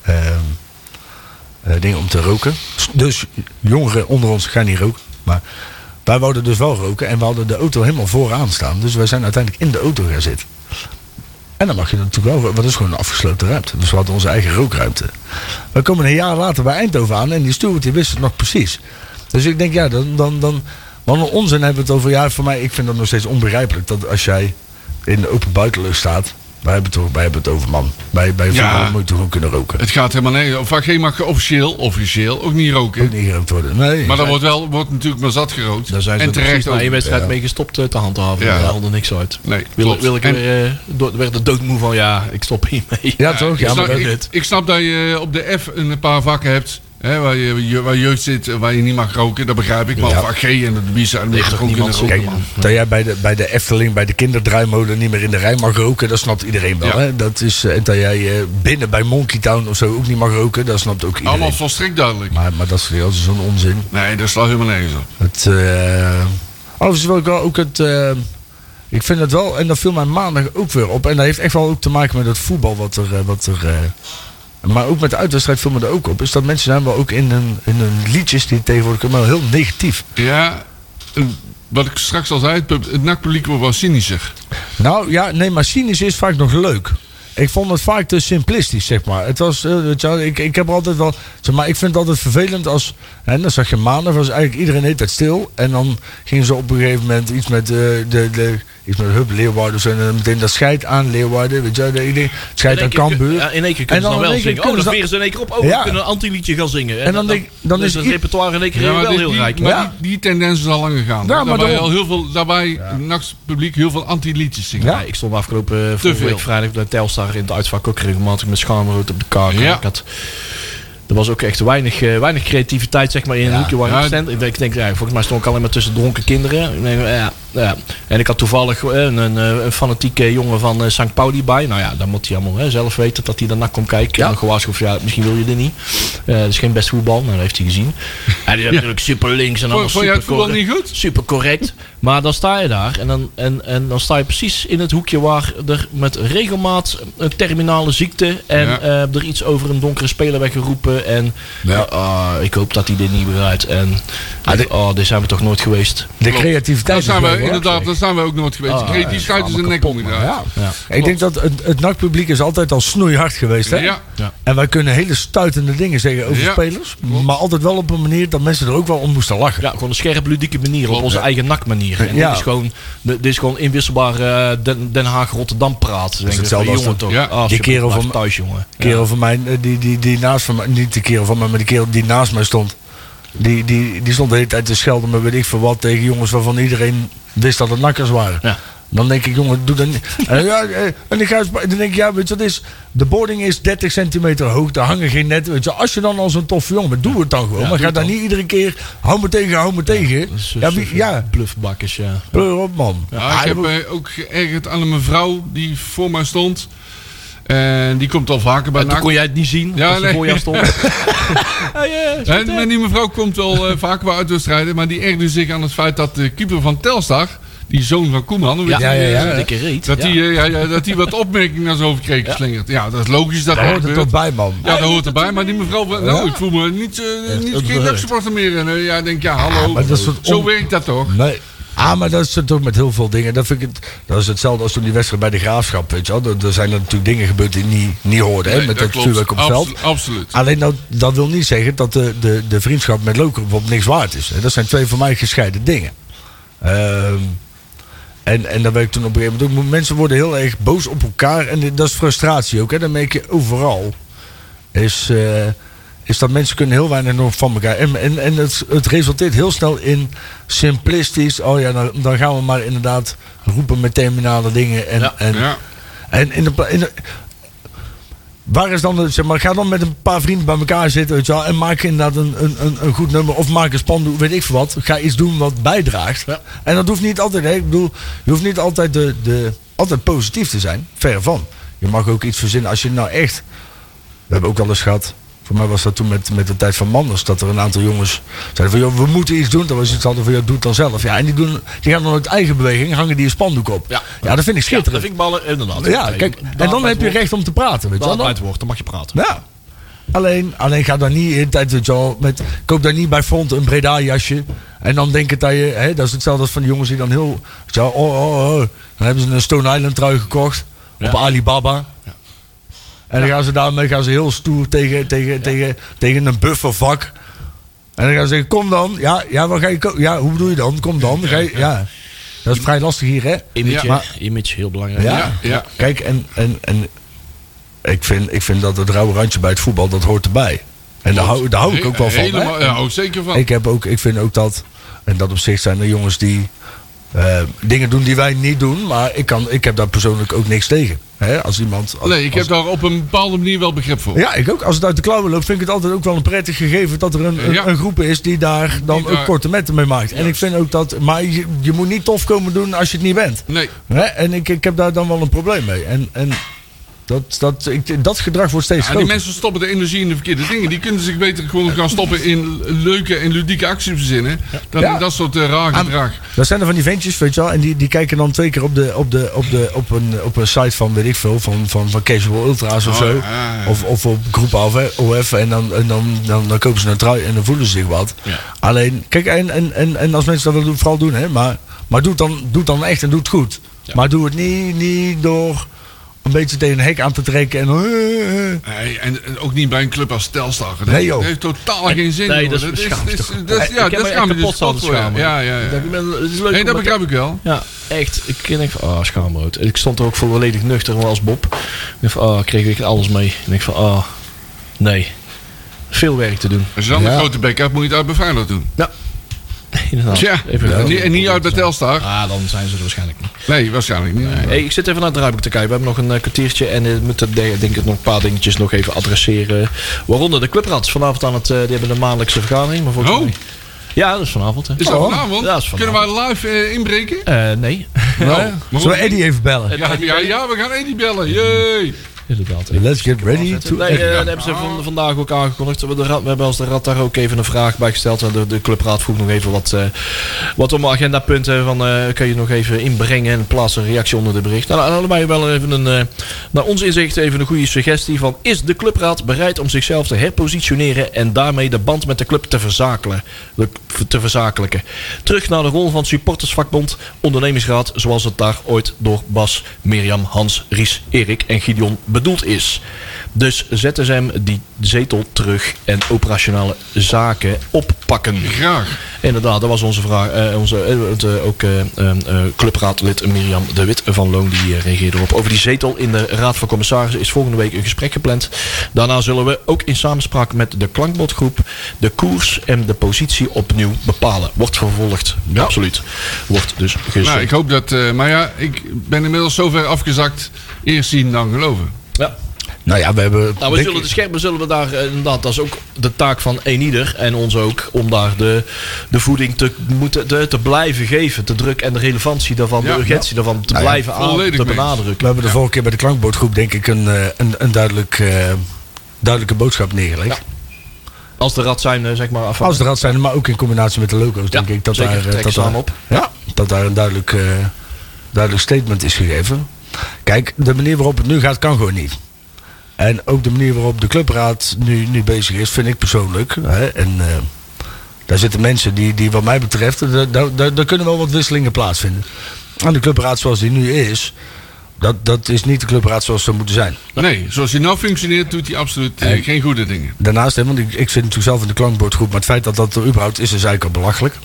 Speaker 3: ehm eh, dingen om te roken. S- Dus jongeren onder ons gaan niet roken. Maar wij wouden dus wel roken en we hadden de auto helemaal vooraan staan. Dus wij zijn uiteindelijk in de auto gaan zitten. En dan mag je natuurlijk wel, roken, want dat is gewoon een afgesloten ruimte. Dus we hadden onze eigen rookruimte. We komen een jaar later bij Eindhoven aan en die steward die wist het nog precies. Dus ik denk, ja, dan, dan, dan wat een onzin hebben we het over. Ja, voor mij, ik vind dat nog steeds onbegrijpelijk dat als jij in de open buitenlucht staat. Wij hebben het, over- wij hebben het over man. Bij,
Speaker 4: Ja.
Speaker 3: bij voetbal moet je gewoon kunnen roken.
Speaker 4: Het gaat helemaal nergens. Of AG mag officieel, officieel ook niet roken.
Speaker 3: Ook niet gerookt worden. Nee.
Speaker 4: Maar dan wordt, wel, wordt natuurlijk maar zat gerookt.
Speaker 2: Daar zijn ze
Speaker 4: en
Speaker 2: er precies
Speaker 4: terecht
Speaker 2: na
Speaker 4: ook.
Speaker 2: één wedstrijd mee gestopt eh, te handhaven.
Speaker 4: Ja.
Speaker 2: Daar haalde niks uit.
Speaker 4: Nee,
Speaker 2: Wil,
Speaker 4: klopt.
Speaker 2: wil ik
Speaker 4: En-
Speaker 2: weer, eh, do- werd er doodmoe van, ja, ik stop hiermee.
Speaker 3: ja, toch?
Speaker 4: ik,
Speaker 3: Ja,
Speaker 4: snap,
Speaker 3: maar,
Speaker 4: ik-
Speaker 2: dit.
Speaker 4: ik snap dat je eh, op de F een paar vakken hebt. Hè, waar, je, je- waar jeugd zit, eh, waar je niet mag roken, dat begrijp ik. Maar
Speaker 3: Ja.
Speaker 4: op AG en de Biezen en de
Speaker 2: Ligt toch niemand
Speaker 4: roken.
Speaker 2: zo-
Speaker 3: kijk, dat jij bij de, bij de Efteling, bij de kinderdruimolen niet meer in de rij mag roken, dat snapt iedereen wel.
Speaker 4: Ja.
Speaker 3: Hè? Dat is, eh, en dat jij eh, binnen bij Monkey Town of zo ook niet mag roken, dat snapt ook iedereen.
Speaker 4: Allemaal volstrekt duidelijk.
Speaker 3: Maar, maar dat is weer altijd zo'n onzin.
Speaker 4: Nee, dat slaat helemaal nergens op.
Speaker 3: Het, eh overigens wil ik wel ook het. eh, ik vind het wel, en dat viel mij maandag ook weer op. En dat heeft echt wel ook te maken met het voetbal wat er. eh, wat er eh, maar ook met de uitwedstrijd viel me er ook op. Is dat mensen zijn wel ook in hun, in hun liedjes die tegenwoordig komen wel heel negatief.
Speaker 4: Ja, en wat ik straks al zei, het pub- het nachtpubliek wordt wel cynischer.
Speaker 3: Nou ja, nee, maar cynisch is vaak nog leuk. Ik vond het vaak te simplistisch, zeg maar. Het was, eh, weet je wel, ik, ik heb er altijd wel, zeg maar, ik vind het altijd vervelend als, en dan zag je maandag, was eigenlijk iedereen de hele tijd stil. En dan gingen ze op een gegeven moment iets met, eh, de, de, iets met Hub Leeuwarden of zo. En dan meteen dat scheid aan Leeuwarden, weet je wel. de- de- Scheid aan
Speaker 2: In één keer kun-
Speaker 3: Cambuur.
Speaker 2: Ja, in één keer
Speaker 3: En
Speaker 2: kunnen ze
Speaker 3: dan
Speaker 2: dan wel
Speaker 3: in één keer
Speaker 2: zingen. Oh, dan
Speaker 3: kunnen ze-
Speaker 2: veren ze in één keer op. Oh,
Speaker 3: Ja.
Speaker 2: we kunnen een anti-liedje gaan zingen. En,
Speaker 3: dan denk- dan is
Speaker 2: het
Speaker 3: i-
Speaker 2: repertoire in één keer
Speaker 4: Ja, maar
Speaker 2: wel
Speaker 4: dit-
Speaker 2: heel
Speaker 4: die,
Speaker 2: rijk.
Speaker 4: Maar
Speaker 3: Ja.
Speaker 4: die, die tendens is al langer gaan.
Speaker 3: Ja, maar
Speaker 4: daarbij
Speaker 3: daarom.
Speaker 4: al heel veel, daarbij het nachtpubliek heel veel anti-liedjes zingen.
Speaker 3: Ja.
Speaker 2: Ja, ik stond afgelopen eh, vorige
Speaker 4: veel.
Speaker 2: week vrijdag bij Telstar in het uitvak ook regelmatig met schaamrood op de kaart.
Speaker 4: Ja.
Speaker 2: Ik had, er was ook echt weinig, eh, weinig creativiteit zeg maar, in een hoekje waar
Speaker 4: Ja.
Speaker 2: ik stond. Ik denk, ik denk, ja, volgens mij stond ik alleen maar tussen dronken kinderen. Ik denk, ja, ja. En ik had toevallig eh, een, een, eh, een fanatieke jongen van eh, St. Pauli bij. Nou ja, dan moet hij allemaal hè, zelf weten dat hij daarna komt kijken. En dan gewaarschuwd, ja, misschien wil je dit niet. Eh dat is geen best voetbal, nou, dat heeft hij gezien. En die is natuurlijk super links en allemaal
Speaker 4: Vond, vond je
Speaker 2: super
Speaker 4: het voetbal niet goed?
Speaker 2: super correct. Maar dan sta je daar en dan, en, en dan sta je precies in het hoekje waar er met regelmaat een terminale ziekte en
Speaker 4: Ja.
Speaker 2: eh, er iets over een donkere speler werd geroepen. En
Speaker 3: Ja.
Speaker 2: ah, ik hoop dat hij dit niet bereidt. En
Speaker 3: Ah, dit-
Speaker 2: oh, dit zijn we toch nooit geweest.
Speaker 3: De
Speaker 4: Klopt.
Speaker 3: creativiteit
Speaker 4: Daar zijn
Speaker 3: is
Speaker 4: we
Speaker 3: wel belangrijk.
Speaker 4: inderdaad, daar zijn we ook nooit geweest.
Speaker 2: Ah,
Speaker 4: Die creativiteit is een nek omgedraaid.
Speaker 3: Ja. Ik denk dat het, het nachtpubliek is altijd al snoeihard geweest. Hè?
Speaker 4: Ja.
Speaker 2: Ja.
Speaker 3: En wij kunnen hele stuitende dingen zeggen over
Speaker 4: Ja,
Speaker 3: spelers. Maar altijd wel op een manier dat mensen er ook wel om moesten lachen.
Speaker 2: Ja, gewoon een scherp ludieke manier, op onze eigen nakmanier. En
Speaker 3: Ja.
Speaker 2: dit, is gewoon, dit is gewoon inwisselbaar eh, Den, Den Haag-Rotterdam praat. Denk ik.
Speaker 3: hetzelfde
Speaker 2: Van,
Speaker 3: als
Speaker 2: jongen
Speaker 3: dat-
Speaker 2: toch.
Speaker 4: Ja.
Speaker 2: Ah,
Speaker 3: Die
Speaker 2: super,
Speaker 3: kerel
Speaker 2: blijf
Speaker 3: van-
Speaker 2: thuis, jongen.
Speaker 3: De kerel van mij, eh, die, die, die naast van mij, niet de kerel van mij, maar de kerel die naast mij stond. Die, die, die stond de hele tijd te schelden, maar weet ik veel wat, tegen jongens waarvan iedereen wist dat het nakkers waren.
Speaker 2: Ja.
Speaker 3: Dan denk ik, jongen, doe dat niet. En, ja, eh, en ik ga, eens- dan denk ik, ja, weet je wat is? De boarding is 30 centimeter hoog, daar hangen geen netten. Weet je, als je dan al zo'n toffe jongen bent, doe het dan gewoon. maar ga dan niet iedere keer, hou me tegen, hou me tegen.
Speaker 2: Dus, eh,
Speaker 3: Ja, wie-
Speaker 2: super
Speaker 3: ja,
Speaker 2: Bluffbakkers, ja.
Speaker 3: pleur op, man.
Speaker 4: Ja, ik heb eh, ook geërgerd aan een mevrouw die voor mij stond. En die komt al vaker bij
Speaker 2: En toen
Speaker 4: NAC.
Speaker 2: kon jij het niet zien,
Speaker 4: Ja,
Speaker 2: als
Speaker 4: nee.
Speaker 2: je voor jou stond.
Speaker 4: En, maar die mevrouw komt al eh, vaker bij uitwedstrijden. Maar die ergerde zich aan het feit dat de keeper van Telstar, die zoon van Koeman, hoe heet
Speaker 3: Ja,
Speaker 4: die,
Speaker 3: ja,
Speaker 4: eh,
Speaker 3: ja.
Speaker 2: Een dikke reet.
Speaker 4: Dat,
Speaker 2: ja.
Speaker 4: Die, eh, ja, ja, dat die wat opmerkingen naar zijn hoofd kreeg geslingerd. Ja, dat is logisch. Dat,
Speaker 3: Daar hoort het
Speaker 4: gebeurt.
Speaker 3: toch bij, man.
Speaker 4: Ja, dat hoort erbij. Maar die mevrouw, van- nou, ik voel me niet, eh, niet
Speaker 2: dat
Speaker 4: geen
Speaker 2: werkt.
Speaker 4: dagsupporter meer. En eh, ja, ik denk, ja, hallo.
Speaker 3: maar dat is wat
Speaker 4: Zo
Speaker 3: on-
Speaker 4: werkt dat toch?
Speaker 3: Nee. Ah, maar dat is het ook met heel veel dingen. Dat, vind ik het, dat is hetzelfde als toen die wedstrijd bij de Graafschap, weet je wel. Er- Er zijn er natuurlijk dingen gebeurd die niet, niet hoorden, hè,
Speaker 4: Nee,
Speaker 3: met
Speaker 4: dat
Speaker 3: dat
Speaker 4: klopt.
Speaker 3: vuurwerk op het veld.
Speaker 4: Absolu- absoluut.
Speaker 3: Alleen dat, dat wil niet zeggen dat de, de, de vriendschap met Loker bijvoorbeeld niks waard is. Dat zijn twee voor mij gescheiden dingen. Ehm, en, en dat weet ik toen op een gegeven moment ook. Mensen worden heel erg boos op elkaar. En dit- dat is frustratie ook. Hè? Dat merk je overal. Is, eh, is dat mensen kunnen heel weinig nog van elkaar. En, en, en het, het resulteert heel snel in simplistisch. Oh ja, dan, dan gaan we maar inderdaad roepen met terminale dingen. En, en,
Speaker 4: Ja.
Speaker 3: en in de, pla- in de- Waar is dan, de- zeg maar, ga dan met een paar vrienden bij elkaar zitten weet je wel, en maak inderdaad een, een, een, een goed nummer of maak een spandoek, weet ik veel wat. Ga iets doen wat bijdraagt. En dat hoeft niet altijd, hè. ik bedoel, je hoeft niet altijd, de, de, altijd positief te zijn, ver van. Je mag ook iets verzinnen als je nou echt, we hebben ook wel eens gehad, voor mij was dat toen met, met de tijd van Manders, dat er een aantal jongens zeiden van, joh, we moeten iets doen. Dan was iets hadden van, joh, doe het dan zelf. Ja, en die, doen, die gaan dan uit eigen beweging, hangen die een spandoek op.
Speaker 2: Ja.
Speaker 3: dat vind ik schitterend.
Speaker 2: Dat vind ik ballen, inderdaad.
Speaker 3: Ja, kijk, en dan heb je recht om te praten, weet je
Speaker 2: Dan
Speaker 3: wel.
Speaker 2: bij
Speaker 3: Dan-
Speaker 2: het woord, dan mag je praten.
Speaker 3: Ja. Alleen, alleen ga daar niet in tijd, weet je wel, met, koop daar niet bij Front een Breda jasje. En dan denken dat je, hè, dat is hetzelfde als van die jongens die dan heel, weet je wel, oh, oh, oh. Dan hebben ze een Stone Island trui gekocht op Alibaba. En dan gaan ze daarmee gaan ze heel stoer tegen, tegen, tegen, tegen een buffervak. En dan gaan ze zeggen, kom dan. Ja, ja, wat ga je ko- ja hoe bedoel je dan? Kom dan. Ga je, ja. Dat is vrij lastig hier, hè?
Speaker 2: Image, hè?
Speaker 3: Maar-
Speaker 2: image heel belangrijk.
Speaker 3: Ja.
Speaker 4: Eh, Ja, ja.
Speaker 3: Kijk, en, en, en ik, vind, ik vind dat het rauwe randje bij het voetbal, dat hoort erbij. En daar hou, daar hou ik ook wel van. hè.
Speaker 4: Helemaal, ja, ook zeker van.
Speaker 3: Ik, heb ook, ik vind ook dat, en dat op zich zijn er jongens die eh, dingen doen die wij niet doen. Maar ik, kan, ik heb daar persoonlijk ook niks tegen. Hè? Als iemand, als-
Speaker 4: nee, ik heb
Speaker 3: als-
Speaker 4: daar op een bepaalde manier wel begrip voor.
Speaker 3: ja, ik ook. Als het uit de klauwen loopt, vind ik het altijd ook wel een prettig gegeven dat er een, een,
Speaker 4: Ja.
Speaker 3: een groep is die daar dan
Speaker 4: Die daar-
Speaker 3: ook korte metten mee maakt. En ik vind ook dat, maar je, je moet niet tof komen doen als je het niet bent.
Speaker 4: Nee.
Speaker 3: Hè? En ik, ik heb daar dan wel een probleem mee. En, en dat, dat, ik, dat gedrag wordt steeds
Speaker 4: En die
Speaker 3: groter.
Speaker 4: mensen stoppen de energie in de verkeerde dingen. Die kunnen zich beter gewoon gaan stoppen in leuke en ludieke acties verzinnen. Dan
Speaker 3: Ja.
Speaker 4: in dat soort eh, raar gedrag.
Speaker 3: Dat zijn er van die ventjes, weet je wel. En die, die kijken dan twee keer op, de, op, de, op, de, op, een, op een site van, weet ik veel, van, van, van Casual Ultra's of
Speaker 4: Oh,
Speaker 3: zo.
Speaker 4: ja, ja, ja.
Speaker 3: Of, of op groep AF, OF. En, dan, en dan, dan, dan kopen ze een trui en dan voelen ze zich wat. Alleen, kijk, en, en, en, en als mensen dat willen doen, vooral doen, hè. Maar, maar doe, het dan, doe het dan echt en doe het goed. Maar doe het niet, niet door een beetje tegen een hek aan te trekken en... eh,
Speaker 4: Nee, en en ook niet bij een club als Telstar. Dat,
Speaker 3: Nee, joh.
Speaker 4: dat heeft totaal geen zin.
Speaker 2: Nee,
Speaker 4: hoor.
Speaker 2: dat is beschaamd,
Speaker 4: dat is-
Speaker 2: toch?
Speaker 4: dat is-
Speaker 2: Ik
Speaker 4: Ja,
Speaker 2: heb me
Speaker 4: dat
Speaker 2: echt
Speaker 4: gaan we
Speaker 2: kapot
Speaker 4: dus
Speaker 2: staan te
Speaker 4: voor. Ja,
Speaker 2: schamen.
Speaker 4: ja, ja.
Speaker 2: Dat, ik ben- het is leuk
Speaker 4: Nee,
Speaker 2: om
Speaker 4: dat
Speaker 2: met-
Speaker 4: begrijp ik wel.
Speaker 2: Ja, echt. Ik denk van, ah, schaamrood. Ik stond er ook voor volledig nuchter als Bob. Ik denk van, ah, kreeg ik alles mee. En ik van, ah, nee. Veel werk te doen.
Speaker 4: Als je dan
Speaker 3: Ja.
Speaker 4: een grote bek hebt, moet je het uit bij Feyenoord doen.
Speaker 2: Inderdaad.
Speaker 4: Tja,
Speaker 2: Even-
Speaker 4: en niet- en niet uit bij Telstar.
Speaker 2: Ah, dan zijn ze er waarschijnlijk niet.
Speaker 4: Nee, waarschijnlijk niet.
Speaker 2: Hey, ik zit even naar het draaiboek te kijken. We hebben nog een eh, kwartiertje en we moeten de- denk ik nog een paar dingetjes nog even adresseren. Waaronder de clubrads. Vanavond aan het, eh, die hebben de maandelijkse vergadering. Maar volgens
Speaker 4: Oh.
Speaker 2: mij- Ja, dat is vanavond. Hè. Oh.
Speaker 4: Is dat vanavond?
Speaker 2: Ja, dat is
Speaker 4: Kunnen
Speaker 2: vanavond.
Speaker 4: wij live eh, inbreken?
Speaker 2: Eh, nee,
Speaker 4: Nou,
Speaker 3: Zullen we Eddie even bellen?
Speaker 4: Ja, ja, ja, we gaan Eddie bellen. Jee.
Speaker 2: inderdaad.
Speaker 3: Let's get ready to...
Speaker 2: Nee, eh, dat hebben ze van, vandaag ook aangekondigd. We, de rad- we hebben als de rad daar ook even een vraag bij gesteld. En de, de clubraad vroeg nog even wat, eh wat om agendapunten. Van, eh, kun je nog even inbrengen en plaats een reactie onder de bericht. Nou, dan hadden wij wel even een, eh, naar ons inzicht even een goede suggestie van... Is de clubraad bereid om zichzelf te herpositioneren en daarmee de band met de club te verzakelen? De- Te verzakelijken. Terug naar de rol van supportersvakbond, ondernemingsraad... zoals het daar ooit door Bas, Mirjam, Hans, Ries, Erik en Gideon bedoeld is. Dus ZSM die zetel terug en operationale zaken oppakken.
Speaker 4: Graag.
Speaker 2: Inderdaad, dat was onze vraag. eh, onze, eh, het, eh, ook eh, ehm, eh, clubraadlid Mirjam de Wit van Loon die eh, reageerde erop. Over die zetel in de Raad van Commissarissen is volgende week een gesprek gepland. Daarna zullen we ook in samenspraak met de klankbordgroep de koers en de positie opnieuw bepalen. Wordt vervolgd. Absoluut. Wordt dus gezegd.
Speaker 4: Nou, ik hoop dat... eh, maar ja, ik ben inmiddels zover afgezakt. Eerst zien, dan geloven.
Speaker 2: ja.
Speaker 3: Nou ja, we hebben...
Speaker 2: Nou, we
Speaker 3: dik-
Speaker 2: zullen de schermen zullen we daar eh, inderdaad, dat is ook de taak van een ieder en ons ook, om daar de, de voeding te, moeten, te, te blijven geven. De druk en de relevantie daarvan,
Speaker 4: Ja.
Speaker 2: de urgentie daarvan te
Speaker 3: Nou ja,
Speaker 2: blijven aan,
Speaker 4: volledig
Speaker 2: te
Speaker 4: mee eens.
Speaker 2: benadrukken.
Speaker 3: We hebben de vorige keer bij de klankbootgroep denk ik een, eh, een, een duidelijk, eh, duidelijke boodschap neergelegd.
Speaker 2: Als de rad zijn, eh, zeg maar, af.
Speaker 3: Als de rad zijn, maar ook in combinatie met de loco's denk
Speaker 2: Ja,
Speaker 3: ik dat
Speaker 2: zeker.
Speaker 3: daar, eh,
Speaker 2: Trek
Speaker 3: dat,
Speaker 2: ze aan
Speaker 3: daar,
Speaker 2: op.
Speaker 3: Ja, dat daar een duidelijk, eh, duidelijk statement is gegeven. Kijk, de manier waarop het nu gaat kan gewoon niet. En ook de manier waarop de clubraad nu, nu bezig is, vind ik persoonlijk. Hè, en eh, Daar zitten mensen die, die wat mij betreft, eh, daar, daar, daar, daar kunnen wel wat wisselingen plaatsvinden. En de clubraad zoals die nu is, dat, dat is niet de clubraad zoals ze moeten zijn.
Speaker 4: Nee, zoals hij nou functioneert, doet hij absoluut eh, geen goede dingen.
Speaker 3: Daarnaast, hè, want ik, ik zit natuurlijk zelf in de klankbordgroep, maar het feit dat dat er überhaupt is, is eigenlijk al belachelijk.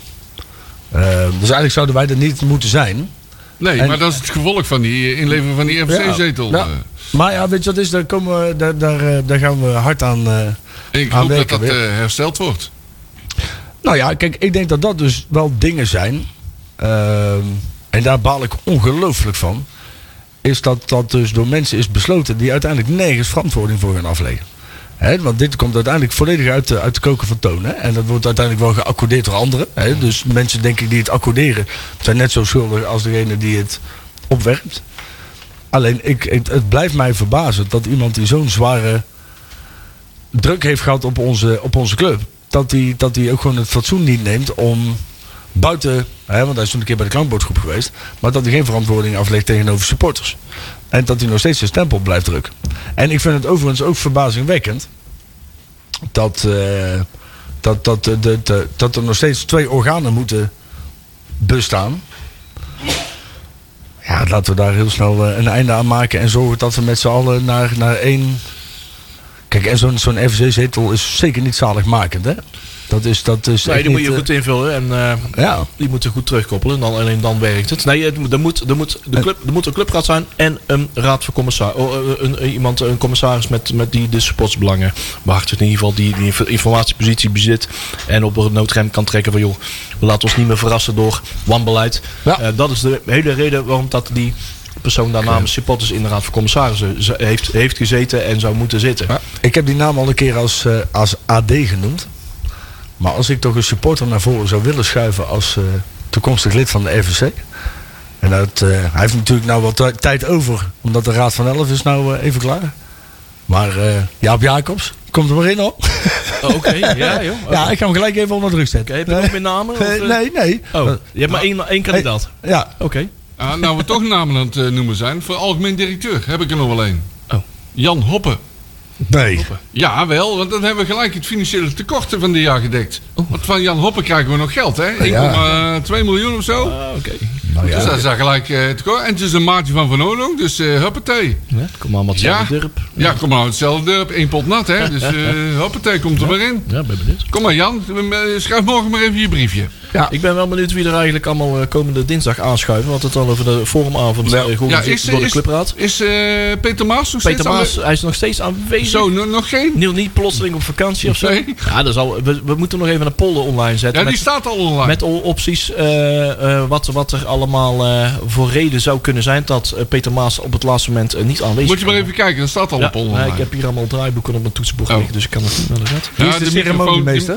Speaker 3: Eh, dus eigenlijk zouden wij dat niet moeten zijn.
Speaker 4: Nee,
Speaker 3: En-
Speaker 4: maar dat is het gevolg van die eh, inleveren van die RFC-zetel.
Speaker 3: Ja. Nou, Maar ja, weet je wat is, daar, komen we, daar, daar, eh, daar gaan we hard aan. eh.
Speaker 4: ik
Speaker 3: Aan
Speaker 4: hoop dat
Speaker 3: werken
Speaker 4: dat eh,
Speaker 3: weer.
Speaker 4: hersteld wordt.
Speaker 3: Nou ja, kijk, ik denk dat dat dus wel dingen zijn. ehm, en daar baal ik ongelooflijk van. Is dat dat dus door mensen is besloten die uiteindelijk nergens verantwoording voor gaan afleggen. Hè, want dit komt uiteindelijk volledig uit de, uit de koken van toon. Hè? En dat wordt uiteindelijk wel geaccordeerd door anderen. Hè? Dus mensen denk ik die het accorderen zijn net zo schuldig als degene die het opwerpt. Alleen ik, het, het blijft mij verbazen dat iemand die zo'n zware druk heeft gehad op onze, op onze club. Dat hij dat die ook gewoon het fatsoen niet neemt om buiten, hè, want hij is toen een keer bij de klankbordgroep geweest. Maar dat hij geen verantwoording aflegt tegenover supporters. En dat hij nog steeds zijn stempel blijft drukken. En ik vind het overigens ook verbazingwekkend dat, eh, dat, dat, eh, dat, eh, dat er nog steeds twee organen moeten bestaan. Ja, laten we daar heel snel eh, een einde aan maken en zorgen dat we met z'n allen naar, naar één. Kijk, en zo'n zo'n FVC-zetel is zeker niet zaligmakend, hè? Dat is. Dat is
Speaker 2: Nee,
Speaker 3: echt
Speaker 2: die moet
Speaker 3: niet,
Speaker 2: je
Speaker 3: eh,
Speaker 2: goed invullen en eh,
Speaker 3: ja.
Speaker 2: die moeten goed terugkoppelen. Dan, alleen dan werkt het. Nee, het moet- er moet, er moet, de club, er moet een clubraad zijn en een raad van commissaris. oh, eh, een, een- iemand, een commissaris met, met die de supportsbelangen behartigt. In ieder geval die, die inf- informatiepositie bezit. En op een noodrem kan trekken van joh, we laten ons niet meer verrassen door wanbeleid.
Speaker 3: Ja.
Speaker 2: Eh, dat is de hele reden waarom dat die persoon daar namens supporters in de raad van commissarissen z- heeft, heeft gezeten en zou moeten zitten.
Speaker 3: Ik heb die naam al een keer als, eh, als AD genoemd. Maar als ik toch een supporter naar voren zou willen schuiven als eh, toekomstig lid van de RVC. En dat, eh, hij heeft natuurlijk nou wat tij- tijd over, omdat de Raad van Elf is nou eh, even klaar. Maar eh, Jaap Jacobs, komt er maar in hoor.
Speaker 2: Eh, Oké, ja joh. Oké,
Speaker 3: Ja, ik ga hem gelijk even onder druk zetten.
Speaker 2: heb je nog meer namen? of,
Speaker 3: Eh,
Speaker 2: eh?
Speaker 3: nee, Nou, nee.
Speaker 2: Oh, je hebt maar één, één kandidaat.
Speaker 3: Ja,
Speaker 2: Oké.
Speaker 4: Ah, nou, we toch namen aan het eh, noemen zijn. Voor algemeen directeur heb ik er nog wel één.
Speaker 2: Oh.
Speaker 4: Jan Hoppen.
Speaker 3: nee.
Speaker 4: Ja, wel, want dan hebben we gelijk het financiële tekorten van dit jaar gedekt.
Speaker 3: Oh.
Speaker 4: Want van Jan Hoppen krijgen we nog geld, hè? 1,2 miljoen of zo.
Speaker 2: Ah, oké.
Speaker 4: dus dat is daar gelijk eh, tekort. En het is een maatje van Van Olong, dus eh huppatee.
Speaker 2: Ja, kom allemaal
Speaker 4: Ja.
Speaker 2: hetzelfde dorp.
Speaker 4: Ja, kom maar uit hetzelfde dorp. Eén pot nat, hè? Dus eh huppatee, komt er maar in.
Speaker 2: Ja, ben benieuwd.
Speaker 4: Kom maar Jan, eh, schrijf morgen maar even je briefje.
Speaker 2: Ik ben wel benieuwd wie er eigenlijk allemaal eh, komende dinsdag aanschuiven. Want het dan over de forumavond eh,
Speaker 4: Ja,
Speaker 2: georganiseerd
Speaker 4: is,
Speaker 2: door de
Speaker 4: is,
Speaker 2: clubraad.
Speaker 4: is eh, Peter Maas nog
Speaker 2: Peter
Speaker 4: steeds aan de-
Speaker 2: Maas, hij is nog steeds aanwezig.
Speaker 4: Zo, no- nog geen?
Speaker 2: Niel niet plotseling op vakantie of zo.
Speaker 4: Nee.
Speaker 2: Ja, dat is al, we, we moeten nog even een pollen online zetten.
Speaker 4: Ja, die
Speaker 2: met,
Speaker 4: staat al online.
Speaker 2: met al opties eh, eh, wat, wat er allemaal eh, voor reden zou kunnen zijn dat eh, Peter Maas op het laatste moment eh, niet aanwezig
Speaker 4: Moet je maar even kijken, dat staat al
Speaker 2: Ja,
Speaker 4: op online.
Speaker 2: nee, ik heb hier allemaal draaiboeken op mijn toetsenbord
Speaker 4: Oh.
Speaker 2: liggen, dus ik kan het niet naar de red.
Speaker 4: Ja,
Speaker 3: Wie is
Speaker 4: de
Speaker 3: de,
Speaker 4: microfoon-
Speaker 3: ceremoniemeester?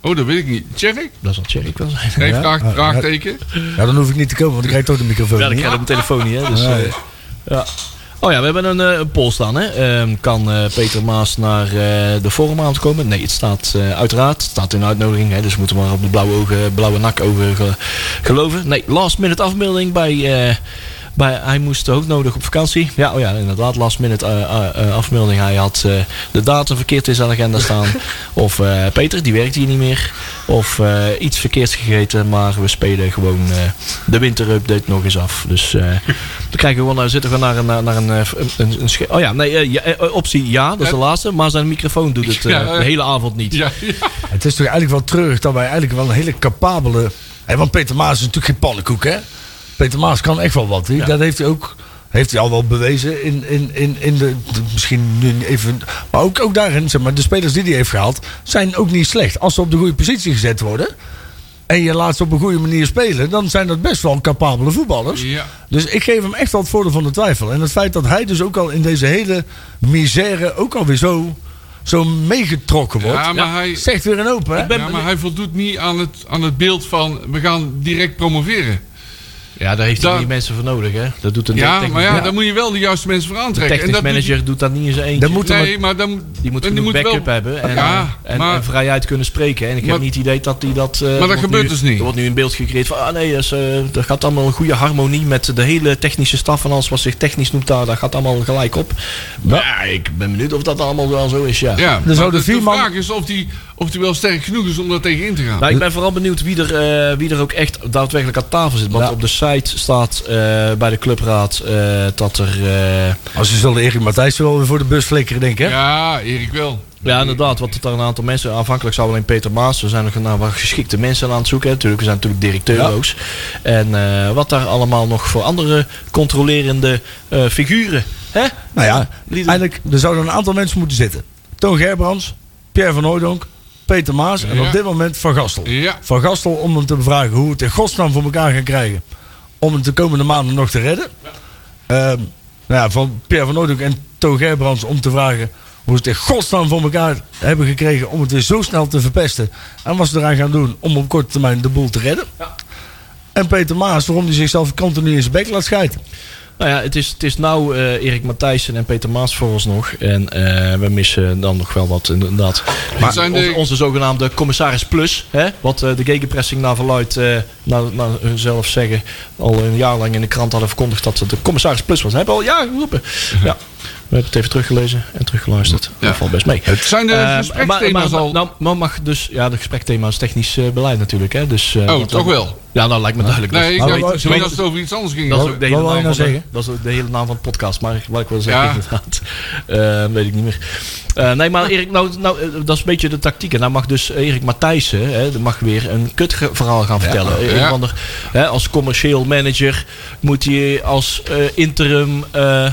Speaker 4: Oh, dat weet ik niet. Tjerk?
Speaker 2: Dat zal Thierry wel zijn.
Speaker 4: Nee,
Speaker 3: Ja.
Speaker 4: vraag,
Speaker 3: Ah,
Speaker 4: vraagteken.
Speaker 3: Ja, dan hoef ik niet te komen, want ik krijg toch de microfoon
Speaker 2: Ja, ik
Speaker 3: niet.
Speaker 2: krijg op mijn telefoon niet, hè. Dus,
Speaker 3: Nee.
Speaker 2: eh, ja. Oh ja, we hebben een, eh, een poll staan, hè. Ehm, kan eh, Peter Maas naar eh, de Forum aan komen? Nee, het staat eh, uiteraard. Het staat in de uitnodiging, hè. Dus we moeten maar op de blauwe, ogen, blauwe nak ogen ge- geloven. Nee, last minute afbeelding bij... eh, bij, hij moest ook nodig op vakantie. Ja, oh ja inderdaad. Last minute eh, eh, eh, afmelding. Hij had eh, de datum verkeerd in zijn agenda staan. of eh, Peter, die werkt hier niet meer. Of eh, iets verkeerds gegeten. Maar we spelen gewoon eh, de winterupdate nog eens af. Dus eh dan krijgen we gewoon, eh, zitten we naar een... Naar, naar een, eh, een, een, een sche- oh ja, nee, eh, ja, eh, optie ja, dat is de laatste. Maar zijn microfoon doet het eh,
Speaker 4: Ja, eh.
Speaker 2: de hele avond niet.
Speaker 4: Ja, ja.
Speaker 3: Het is toch eigenlijk wel treurig dat wij eigenlijk wel een hele capabele... Hé, want Peter Maas is natuurlijk geen pannenkoek, hè? Peter Maas kan echt wel wat. Dat heeft hij ook... Heeft hij al wel bewezen in, in, in, in de, de- Misschien nu even... Maar ook, ook daarin, zeg maar, de spelers die hij heeft gehaald... zijn ook niet slecht. Als ze op de goede positie gezet worden... en je laat ze op een goede manier spelen... dan zijn dat best wel capabele voetballers.
Speaker 4: Ja.
Speaker 3: Dus ik geef hem echt wel het voordeel van de twijfel. En het feit dat hij dus ook al in deze hele misère... ook alweer zo, zo meegetrokken wordt...
Speaker 4: Ja, maar hij-
Speaker 3: zegt weer een open, hè?
Speaker 4: Ja, maar hij voldoet niet aan het, aan het beeld van we gaan direct promoveren.
Speaker 2: Ja, daar heeft hij
Speaker 4: Daar-
Speaker 2: niet mensen voor nodig, hè? Dat doet een
Speaker 4: Ja,
Speaker 2: technisch-
Speaker 4: maar ja,
Speaker 2: een
Speaker 4: daar moet je wel de juiste mensen voor aantrekken.
Speaker 2: technisch
Speaker 4: dat doet-
Speaker 2: manager doet dat niet in zijn eentje.
Speaker 3: Dan moet er
Speaker 4: nee, maar dan,
Speaker 2: die moet
Speaker 4: en
Speaker 2: een
Speaker 4: wel-
Speaker 2: backup hebben en, eh,
Speaker 4: Ja,
Speaker 2: en,
Speaker 4: maar-
Speaker 2: en vrijheid kunnen spreken. En ik
Speaker 4: Maar-
Speaker 2: heb niet het idee dat hij dat... eh, er wordt
Speaker 4: gebeurt
Speaker 2: nu-
Speaker 4: dus niet.
Speaker 2: Er wordt nu een beeld gecreëerd van, ah nee, dat, is, eh, dat gaat allemaal een goede harmonie met de hele technische staf en alles wat zich technisch noemt daar, dat gaat allemaal gelijk op. Ja, ik ben benieuwd of dat allemaal wel zo is, ja.
Speaker 4: Ja,
Speaker 3: zouden
Speaker 4: maar de,
Speaker 3: vier
Speaker 4: de
Speaker 3: man-
Speaker 4: vraag is of die, of die wel sterk genoeg is om daar tegen in te gaan.
Speaker 2: Nou, ik ben vooral benieuwd wie er, eh, wie er ook echt daadwerkelijk aan tafel zit. Want op de site staat eh, bij de clubraad eh, dat er... eh,
Speaker 3: Als je zullen Erik Matthijs wel weer voor de bus flikkeren, denk ik. hè?
Speaker 4: ja, Erik wel.
Speaker 2: Ja, inderdaad. Want er een aantal mensen, aanvankelijk zou alleen Peter Maas, er zijn nog nou, wat geschikte mensen aan het zoeken. hè. Natuurlijk, we zijn natuurlijk directeuro's. En eh, wat daar allemaal nog voor andere controlerende eh, figuren. Hè?
Speaker 3: Nou ja,
Speaker 2: Lieden.
Speaker 3: eigenlijk er zouden een aantal mensen moeten zitten. Toon Gerbrands, Pierre van Hooydonk, Peter Maas en
Speaker 4: Ja.
Speaker 3: op dit moment Van Gastel.
Speaker 4: Ja.
Speaker 3: Van Gastel om hem te bevragen hoe we het in godsnaam voor elkaar gaan krijgen. Om hem de komende maanden nog te redden. Ehm, nou ja, van Pierre van Hooydonk en Toon Gerbrands om te vragen hoe ze het in godsnaam voor elkaar hebben gekregen om het weer zo snel te verpesten. En wat ze eraan gaan doen om op korte termijn de boel te redden. En Peter Maas, waarom hij zichzelf continu in zijn bek laat schijten.
Speaker 2: Nou ja, het is, het is nou eh, Erik Matthijssen en Peter Maas voor ons nog. En eh, we missen dan nog wel wat, inderdaad. Maar
Speaker 4: zijn
Speaker 2: onze,
Speaker 4: de-
Speaker 2: onze zogenaamde commissaris Plus, hè, wat eh, de gegenpressing naar verluid, eh naar, naar hunzelf zeggen, al een jaar lang in de krant hadden verkondigd dat het de commissaris Plus was. Hebben we al jaren geroepen. Ja. We hebben het even teruggelezen en teruggeluisterd. Dat valt best mee.
Speaker 4: Zijn de
Speaker 2: Eh, maar,
Speaker 4: gespreksthema's
Speaker 2: maar,
Speaker 4: al...
Speaker 2: Nou, maar mag dus, ja, de gesprekthema is technisch eh, beleid natuurlijk. Hè, dus, eh,
Speaker 4: Oh,
Speaker 2: dat-
Speaker 4: toch wel?
Speaker 2: Ja, nou lijkt me duidelijk. dat-
Speaker 4: nee, ik
Speaker 3: Nou,
Speaker 4: dacht
Speaker 3: wat-
Speaker 4: ik dacht
Speaker 3: wat-
Speaker 4: dat het over iets anders ging.
Speaker 2: dat is ook de hele,
Speaker 3: Wat wou
Speaker 2: naam
Speaker 3: je nou
Speaker 2: van de,
Speaker 3: zeggen?
Speaker 2: dat is ook de hele naam van de podcast. Maar wat ik wil zeggen,
Speaker 4: Ja.
Speaker 2: inderdaad. Eh, weet ik niet meer. Eh, nee, maar Erik, nou, nou, eh, dat is een beetje de tactiek. En nou mag dus Erik Matthijssen hè, die mag weer een kut verhaal gaan vertellen. Eh, een
Speaker 4: Ja.
Speaker 2: of ander, hè, als commercieel manager moet hij als eh, interim eh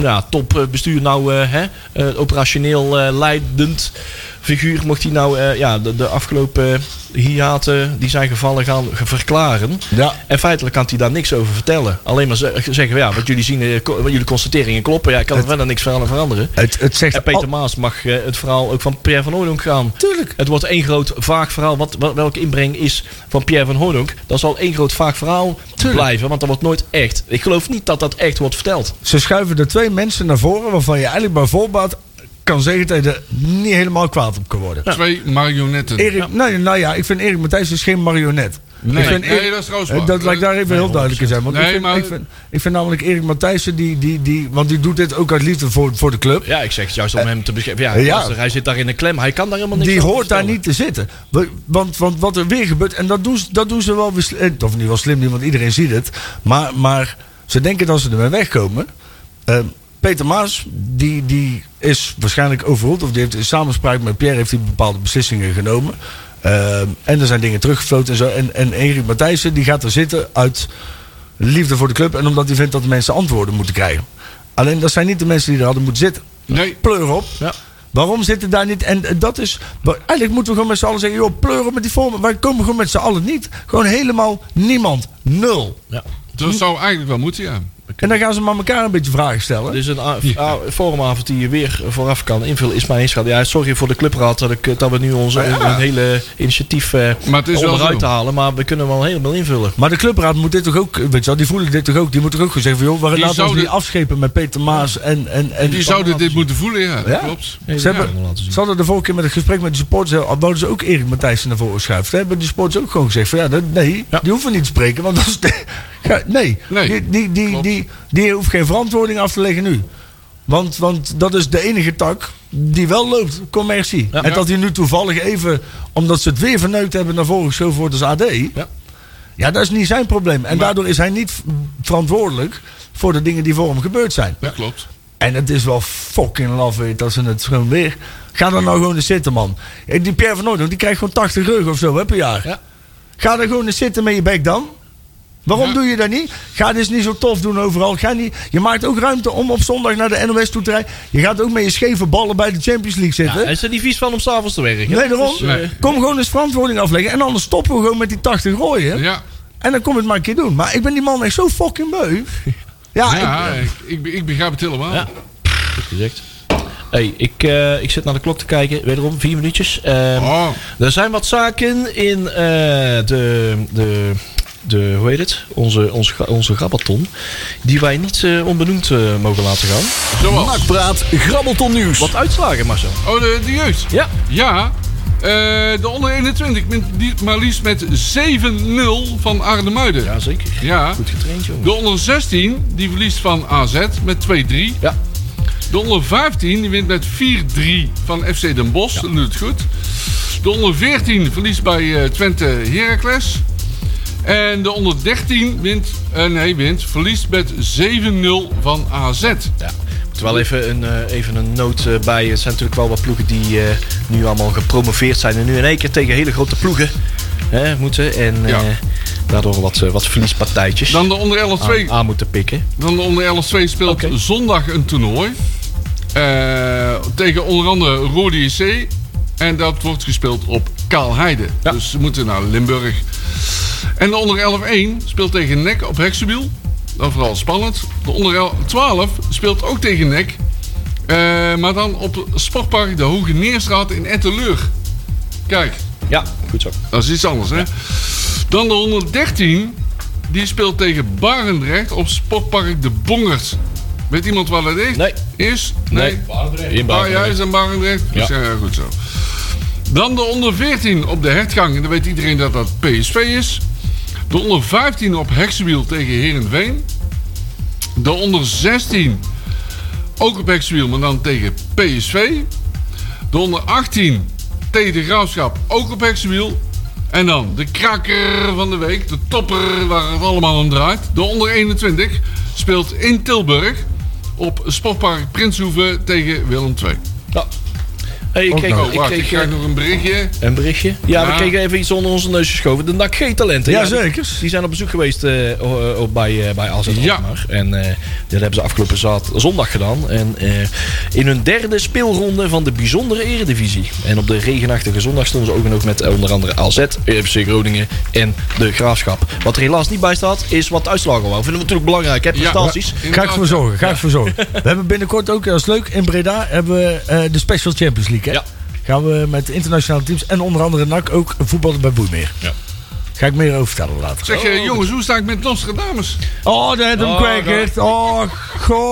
Speaker 2: ja, topbestuur nou eh, hè, eh, operationeel eh, leidend figuur mocht hij nou eh, ja, de, de afgelopen hiaten die zijn gevallen gaan verklaren.
Speaker 3: Ja.
Speaker 2: En feitelijk kan hij daar niks over vertellen. Alleen maar ze- zeggen, ja, wat jullie zien, eh, ko- wat jullie constateringen kloppen. Ja, ik kan er verder niks van veranderen.
Speaker 3: Het, het zegt
Speaker 2: En Peter Maas mag eh, het verhaal ook van Pierre van Hooydonk gaan.
Speaker 3: Tuurlijk.
Speaker 2: Het wordt één groot vaag verhaal. Wat, wat- welke inbreng is van Pierre van Hooydonk? Dat zal één groot vaag verhaal blijven. Want dat wordt nooit echt. Ik geloof niet dat dat echt wordt verteld.
Speaker 3: Ze schuiven er twee mensen naar voren waarvan je eigenlijk bij voorbaat kan zeggen dat je er niet helemaal kwaad op kan worden.
Speaker 4: Twee marionetten.
Speaker 3: Erik, Nou, nou ja, ik vind Erik Matthijs is geen marionet.
Speaker 4: Nee,
Speaker 3: ik vind
Speaker 4: nee,
Speaker 3: Erik-
Speaker 4: dat is trouwens
Speaker 3: eh,
Speaker 4: waar.
Speaker 3: Dat laat ik daar even heel duidelijk in zijn. Want ik,
Speaker 4: Nee,
Speaker 3: vind,
Speaker 4: maar-
Speaker 3: ik, vind, ik vind namelijk Erik Matthijssen, die, die, die, want die doet dit ook uit liefde voor, voor de club.
Speaker 2: Ja, ik zeg het juist om hem te beschrijven. Ja,
Speaker 3: ja.
Speaker 2: Eh, luister, hij zit daar in de klem. Hij kan daar helemaal niks
Speaker 3: Die
Speaker 2: over
Speaker 3: hoort daar
Speaker 2: vertellen.
Speaker 3: niet te zitten. We- Want, want wat er weer gebeurt, en dat doen ze, dat doen ze wel weer sl- eh, Of niet wel slim, niet, want iedereen ziet het. Maar, maar ze denken dat ze ermee wegkomen. Eh, Peter Maas, die, die is waarschijnlijk overroeld. Of die heeft in samenspraak met Pierre heeft hij bepaalde beslissingen genomen. Eh, en er zijn dingen teruggefloten en zo. En, en Erik Matthijssen, die gaat er zitten uit liefde voor de club. En omdat hij vindt dat de mensen antwoorden moeten krijgen. Alleen dat zijn niet de mensen die er hadden moeten zitten
Speaker 4: Nee,
Speaker 3: pleur op.
Speaker 2: Ja.
Speaker 3: Waarom zitten daar niet? En eh, dat is. wa- Eigenlijk moeten we gewoon met z'n allen zeggen: joh, pleur op met die vormen. Wij komen gewoon met z'n allen niet. Gewoon helemaal niemand. Nul.
Speaker 4: dat zou eigenlijk wel moeten, ja.
Speaker 3: En dan gaan ze maar elkaar een beetje vragen stellen.
Speaker 2: Dus een a- a- forumavond die je weer vooraf kan invullen is mijn inschatting. Ja, sorry voor de clubraad dat, ik, eh, dat we nu onze een hele initiatief eh
Speaker 4: Maar het is wel
Speaker 2: onderuit
Speaker 4: zo.
Speaker 2: te halen. Maar we kunnen wel helemaal invullen.
Speaker 3: maar de clubraad moet dit toch ook, weet je wel, die voelen dit toch ook. Die moet toch ook gewoon zeggen van, joh,
Speaker 4: Die
Speaker 3: we laten ons
Speaker 4: zouden-
Speaker 3: niet afschepen met Peter Maas en... en, en
Speaker 4: Die zouden dit moeten voelen, ja.
Speaker 3: Ja?
Speaker 4: Dat klopt.
Speaker 3: Ze, hebben, ze hadden de vorige keer met het gesprek met de supporters, al wouden ze ook Erik Matthijssen naar voren schuiven. Daar hebben de supporters ook gewoon gezegd van, ja, dat, nee, die hoeven niet te spreken, want dat is... Ja, nee,
Speaker 4: Nee,
Speaker 3: die, die, die,
Speaker 4: klopt.
Speaker 3: die, die hoeft geen verantwoording af te leggen nu. Want, want dat is de enige tak die wel loopt, commercie. En dat die nu toevallig even, omdat ze het weer verneukt hebben, naar voren geschoven wordt als AD. Ja, dat is niet zijn probleem. En daardoor is hij niet v- verantwoordelijk voor de dingen die voor hem gebeurd zijn.
Speaker 4: Dat klopt.
Speaker 3: En het is wel fucking laf, weet je, dat ze het gewoon weer... Ga dan nou gewoon eens zitten, man. Eh, Die Pierre van Noordhoek, die krijgt gewoon 80 euro of zo hè, per jaar.
Speaker 4: Ja.
Speaker 3: Ga dan gewoon eens zitten met je bek dan. Waarom
Speaker 4: Ja.
Speaker 3: doe je dat niet? Ga dus niet zo tof doen overal. Ga niet, je maakt ook ruimte om op zondag naar de NOS toe te rijden. Je gaat ook met je scheve ballen bij de Champions League
Speaker 2: Ja,
Speaker 3: zitten.
Speaker 2: hij is er niet vies van om s'avonds te werken.
Speaker 3: nee, daarom.
Speaker 2: Dus, eh,
Speaker 4: Nee.
Speaker 3: Kom gewoon eens verantwoording afleggen. En anders stoppen we gewoon met die 80 rooien.
Speaker 4: Ja.
Speaker 3: En dan kom je het maar een keer doen. Maar ik ben die man echt zo fucking beu. Ja, ik-
Speaker 4: Ja, ik, ik, ik begrijp het helemaal.
Speaker 2: Ja. goed gezegd. Hey, ik, eh, ik zit naar de klok te kijken. Wederom, vier minuutjes. Ehm,
Speaker 4: Oh,
Speaker 2: Er zijn wat zaken in eh, de, de, de, hoe heet het? Onze, onze, ga- onze grabaton. Die wij niet eh, onbenoemd eh, mogen laten gaan.
Speaker 4: Zoals.
Speaker 1: Nakpraat, grabbelton nieuws.
Speaker 2: Wat uitslagen, Marcel.
Speaker 4: Oh, de, de jeugd.
Speaker 2: Ja.
Speaker 4: Ja. eh, de onder 21 wint die- maar liefst met 7-0 van Arnhemuiden. Ja.
Speaker 2: Jazeker. Goed getraind, jongen.
Speaker 4: De onder 16 die verliest van AZ met 2-3.
Speaker 2: Ja.
Speaker 4: De onder 15 die wint met 4-3 van FC Den Bosch. Dat doet het goed. De onder 14 verliest bij eh, Twente Heracles. En de onder 13 wint, eh, nee, wint, verliest met 7-0 van AZ.
Speaker 2: Ja. Moet wel even een, eh, even een noot eh, bij. Het zijn natuurlijk wel wat ploegen die eh, nu allemaal gepromoveerd zijn. En nu in één keer tegen hele grote ploegen hè, moeten. En eh,
Speaker 4: Ja.
Speaker 2: daardoor wat, eh, wat verliespartijtjes
Speaker 4: Dan de onder 11
Speaker 2: aan, aan moeten pikken.
Speaker 4: Dan de onder 11 2 speelt
Speaker 2: Oké.
Speaker 4: zondag een toernooi. Eh, tegen onder andere Rode JC. En dat wordt gespeeld op Kaalheide. Dus ze moeten naar Limburg. En de onder 11 1 speelt tegen NEC op Heksenbiel. Dan vooral spannend. De onder 11 12 speelt ook tegen NEC. Eh, maar dan op Sportpark de Hoge Neerstraat in Etteleur. Kijk,
Speaker 2: Ja, goed zo.
Speaker 4: dat is iets anders, hè? Dan de 113. Die speelt tegen Barendrecht op Sportpark De Bongert. Weet iemand waar dat is?
Speaker 2: Nee.
Speaker 4: Is? Nee.
Speaker 9: In
Speaker 4: Ah,
Speaker 9: Barendrecht.
Speaker 4: jij is een Barendrecht? Ja.
Speaker 9: Ja.
Speaker 4: ja, goed zo. Dan de onder 14 op de hertgang. En dan weet iedereen dat dat PSV is. De onder 15 op Heksenwiel tegen Herenveen. De onder 16 ook op Heksenwiel, maar dan tegen PSV. De onder 18 tegen de Graafschap ook op Heksenwiel. En dan de kraker van de week, de topper waar het allemaal om draait. De onder 21 speelt in Tilburg op Sportpark Prinshoeven tegen Willem II.
Speaker 2: Hey, ik
Speaker 3: Ook
Speaker 2: kreeg,
Speaker 3: nog.
Speaker 4: Oh,
Speaker 2: ik
Speaker 4: wacht, ik
Speaker 2: kreeg,
Speaker 4: krijg
Speaker 2: eh,
Speaker 4: nog een berichtje.
Speaker 2: een berichtje. Ja, we
Speaker 4: Ja.
Speaker 2: kregen even iets onder onze neus geschoven. De NAC G-talenten. Ja, die-
Speaker 3: Jazeker.
Speaker 2: Die zijn op bezoek geweest eh, o- o- bij, eh, bij AZ
Speaker 4: Ja.
Speaker 2: Alkmaar. En eh dat hebben ze afgelopen zaad, zondag gedaan. En eh, in hun derde speelronde van de bijzondere eredivisie. En op de regenachtige zondag stonden ze ook nog met eh, onder andere AZ, FC Groningen en de Graafschap. Wat er helaas niet bij staat, is wat de uitslagen waren. Vinden we natuurlijk belangrijk, hè? Prestaties.
Speaker 3: Ga ik voor zorgen, ga ik voor zorgen. We hebben binnenkort ook, dat is leuk, in Breda hebben we eh, de Special Champions League. Hè?
Speaker 2: Ja.
Speaker 3: Gaan we met internationale teams en onder andere NAC ook voetballen bij Boeimeer.
Speaker 9: Ja.
Speaker 3: Ga ik meer over vertellen later.
Speaker 4: Zeg, eh, jongens, hoe sta ik met Nostradamus?
Speaker 3: Oh, dat heeft hem kwijt. Oh,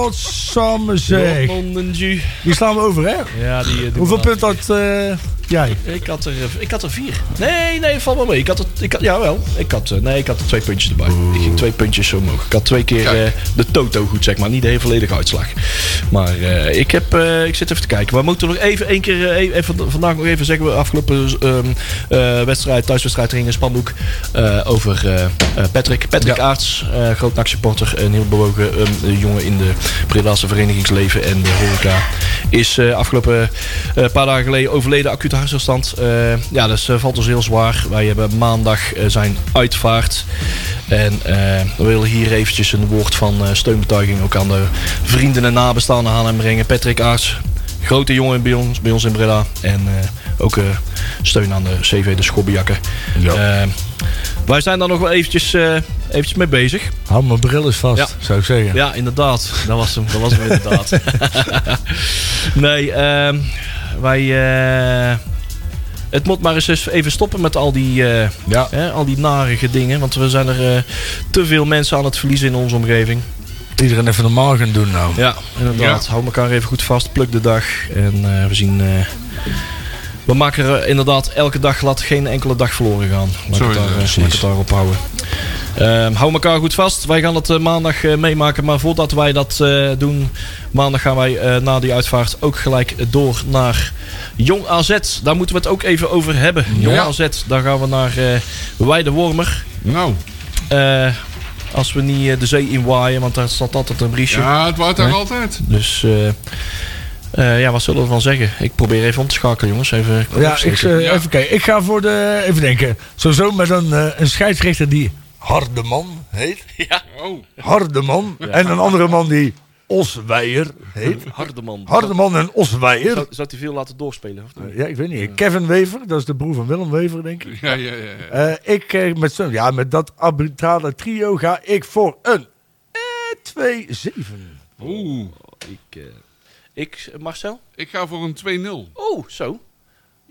Speaker 3: godsamme zeg.
Speaker 2: Dortmund, Ju.
Speaker 3: Die slaan we over, hè?
Speaker 2: Ja, die, eh, die
Speaker 3: Hoeveel
Speaker 2: man-
Speaker 3: punten had eh, jij?
Speaker 2: Ik had, er, eh, ik had er vier. Nee, nee, val wel mee. Ik had er, ik had, jawel. Ik had, eh, nee, ik had er twee puntjes erbij. Ik ging twee puntjes zo omhoog. Ik had twee keer eh, de toto goed, zeg maar. Niet de hele volledige uitslag. Maar eh, ik, heb, eh, ik zit even te kijken. We moeten nog even één keer... eh, even- even, vandaag nog even zeggen. We afgelopen ehm, eh, wedstrijd, thuiswedstrijd, er hing een spandoek eh, over eh, eh, Patrick. Patrick Aarts, eh, groot NAC-supporter. Een heel bewogen ehm, jongen in de Bredaanse verenigingsleven en de horeca. Is eh, afgelopen eh, paar dagen geleden overleden, acute hartstilstand. Eh, ja, dat is, eh, valt ons heel zwaar. Wij hebben maandag eh, zijn uitvaart. En eh, we willen hier eventjes een woord van eh, steunbetuiging ook aan de vrienden en nabestaanden aan hem brengen. Patrick Aarts, grote jongen bij ons, bij ons in Breda. En eh, ook eh, steun aan de CV, de schobbejakken. Eh, wij zijn daar nog wel eventjes, eh, eventjes mee bezig.
Speaker 3: Hou mijn bril eens vast,
Speaker 2: Ja.
Speaker 3: zou ik zeggen.
Speaker 2: Ja, inderdaad. Dat was hem. Dat was hem inderdaad. nee, ehm, wij... eh, het moet maar eens eens even stoppen met al die, eh,
Speaker 3: Ja.
Speaker 2: hè, al die narige dingen. Want we zijn er eh, te veel mensen aan het verliezen in onze omgeving.
Speaker 3: Iedereen even normaal gaan doen nou.
Speaker 2: Ja, inderdaad. Hou elkaar even goed vast. Pluk de dag. En eh, we zien... eh, we maken er eh, inderdaad elke dag glad geen enkele dag verloren gaan. Laat
Speaker 4: Zo
Speaker 2: ik het,
Speaker 4: is
Speaker 2: daar,
Speaker 4: het,
Speaker 2: eh,
Speaker 4: precies.
Speaker 2: laat ik het daarop houden. Ehm, hou elkaar goed vast. Wij gaan het eh, maandag eh, meemaken. Maar voordat wij dat eh, doen, maandag gaan wij eh, na die uitvaart ook gelijk door naar Jong AZ. Daar moeten we het ook even over hebben. Jong
Speaker 4: Ja.
Speaker 2: AZ, daar gaan we naar eh Weide Wormer.
Speaker 4: Nou,
Speaker 2: Eh, als we niet eh, de zee in waaien, want daar staat altijd een briesje.
Speaker 4: ja, het waait daar
Speaker 2: Nee.
Speaker 4: altijd.
Speaker 2: Dus eh, eh, ja, wat zullen we ervan zeggen? Ik probeer even om te schakelen, jongens. Even
Speaker 3: Ja, ik, eh,
Speaker 4: Ja.
Speaker 3: even kijken. Ik ga voor de... Even denken. Sowieso met een, eh, een scheidsrechter die Hardeman heet.
Speaker 4: Oh,
Speaker 3: Hardeman. En een andere man die Osweijer heet.
Speaker 2: Hardeman.
Speaker 3: eh, Hardeman en Osweijer.
Speaker 2: Zou, zou hij veel laten doorspelen? Of niet?
Speaker 3: Ja, ik weet niet. Kevin Wever, dat is de broer van Willem Wever, denk ik.
Speaker 4: ja, ja, ja. ja.
Speaker 3: Eh, ik eh, met, zo'n- ja, met dat arbitrale trio ga ik voor een eh 2-7.
Speaker 4: Oeh,
Speaker 2: Ik, eh, ik, eh, Marcel?
Speaker 4: ik ga voor een 2-0.
Speaker 2: Oh, zo.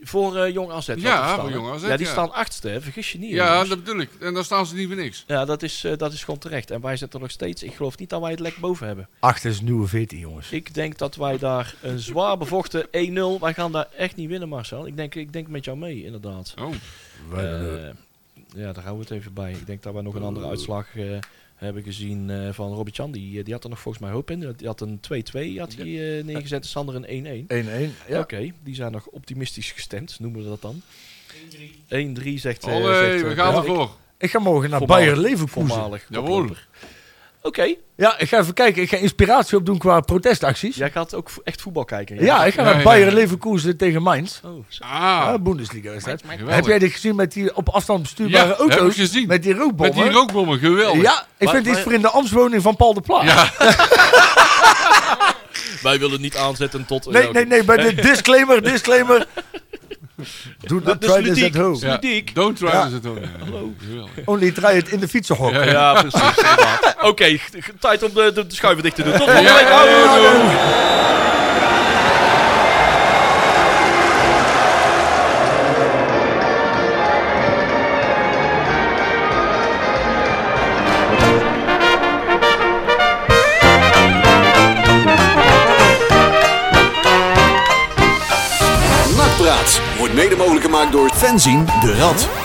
Speaker 2: Voor eh, Jong AZ. had
Speaker 4: Ja,
Speaker 2: het staan,
Speaker 4: voor
Speaker 2: hè?
Speaker 4: Jong AZ,
Speaker 2: Ja, die
Speaker 4: ja.
Speaker 2: staan achtste, hè? vergis je niet.
Speaker 4: Ja,
Speaker 2: jongens.
Speaker 4: dat bedoel ik. En dan staan ze niet voor niks.
Speaker 2: ja dat, is, eh, dat is gewoon terecht. En wij zitten nog steeds, ik geloof niet dat wij het lek boven hebben.
Speaker 3: 8 is nieuwe 14, jongens.
Speaker 2: Ik denk dat wij daar een zwaar bevochten 1-0, wij gaan daar echt niet winnen Marcel. Ik denk, ik denk met jou mee, inderdaad.
Speaker 4: Oh,
Speaker 2: Eh, ja, daar houden we het even bij. Ik denk dat we nog een andere uitslag eh, hebben gezien eh, van Robert Jan. Die, eh, die had er nog volgens mij hoop in. Die had een 2-2 had hij eh, neergezet en Sander een 1-1.
Speaker 3: 1-1. Ja.
Speaker 2: Oké, die zijn nog optimistisch gestemd, noemen we dat dan. 1-3. 1-3 zegt... eh, zegt,
Speaker 4: allee,
Speaker 2: eh,
Speaker 4: we gaan
Speaker 2: Patrick.
Speaker 4: ervoor.
Speaker 3: Ik ga morgen naar
Speaker 2: Voormalig-
Speaker 3: Bayer Leverkusen.
Speaker 2: Voormalig.
Speaker 4: Jawohl.
Speaker 2: koploper. Oké,
Speaker 3: Ja, ik ga even kijken. Ik ga inspiratie opdoen qua protestacties. Ja,
Speaker 2: jij gaat ook vo- echt voetbal kijken.
Speaker 3: ik ga
Speaker 4: Ja,
Speaker 3: naar
Speaker 4: ja,
Speaker 3: Bayer
Speaker 4: ja.
Speaker 3: Leverkusen tegen Mainz.
Speaker 2: Oh, zo.
Speaker 4: Ah,
Speaker 3: Ja, Bundesliga-wedstrijd.
Speaker 4: geweldig.
Speaker 3: Heb jij dit gezien met die op afstand bestuurbare
Speaker 4: Ja,
Speaker 3: auto's?
Speaker 4: heb ik gezien.
Speaker 3: Met die
Speaker 4: Met
Speaker 3: rookbommen?
Speaker 4: die rookbommen, geweldig.
Speaker 3: Ja, ik
Speaker 2: Maar-
Speaker 3: vind iets
Speaker 2: maar-
Speaker 3: voor in de ambtswoning van Paul de Pla.
Speaker 2: Wij willen niet aanzetten tot...
Speaker 3: Nee, nee, nee, bij de disclaimer, disclaimer. Doe not
Speaker 2: is
Speaker 3: try this
Speaker 2: ludiek.
Speaker 3: at home.
Speaker 4: Ja,
Speaker 2: ludiek.
Speaker 4: Don't try
Speaker 3: Ja.
Speaker 4: this at home. Hallo. Geweldig.
Speaker 3: Only try it in de fietsenhok.
Speaker 4: Ja, ja.
Speaker 2: Ja, precies. inderdaad. Oké, g- g- tijd om de, de, de schuiven dicht te doen. Tot volgende week.
Speaker 4: Ja,
Speaker 2: Houdoe.
Speaker 4: ja, ja.
Speaker 1: Nakpraat wordt mede mogelijk gemaakt door fanzine de Rad.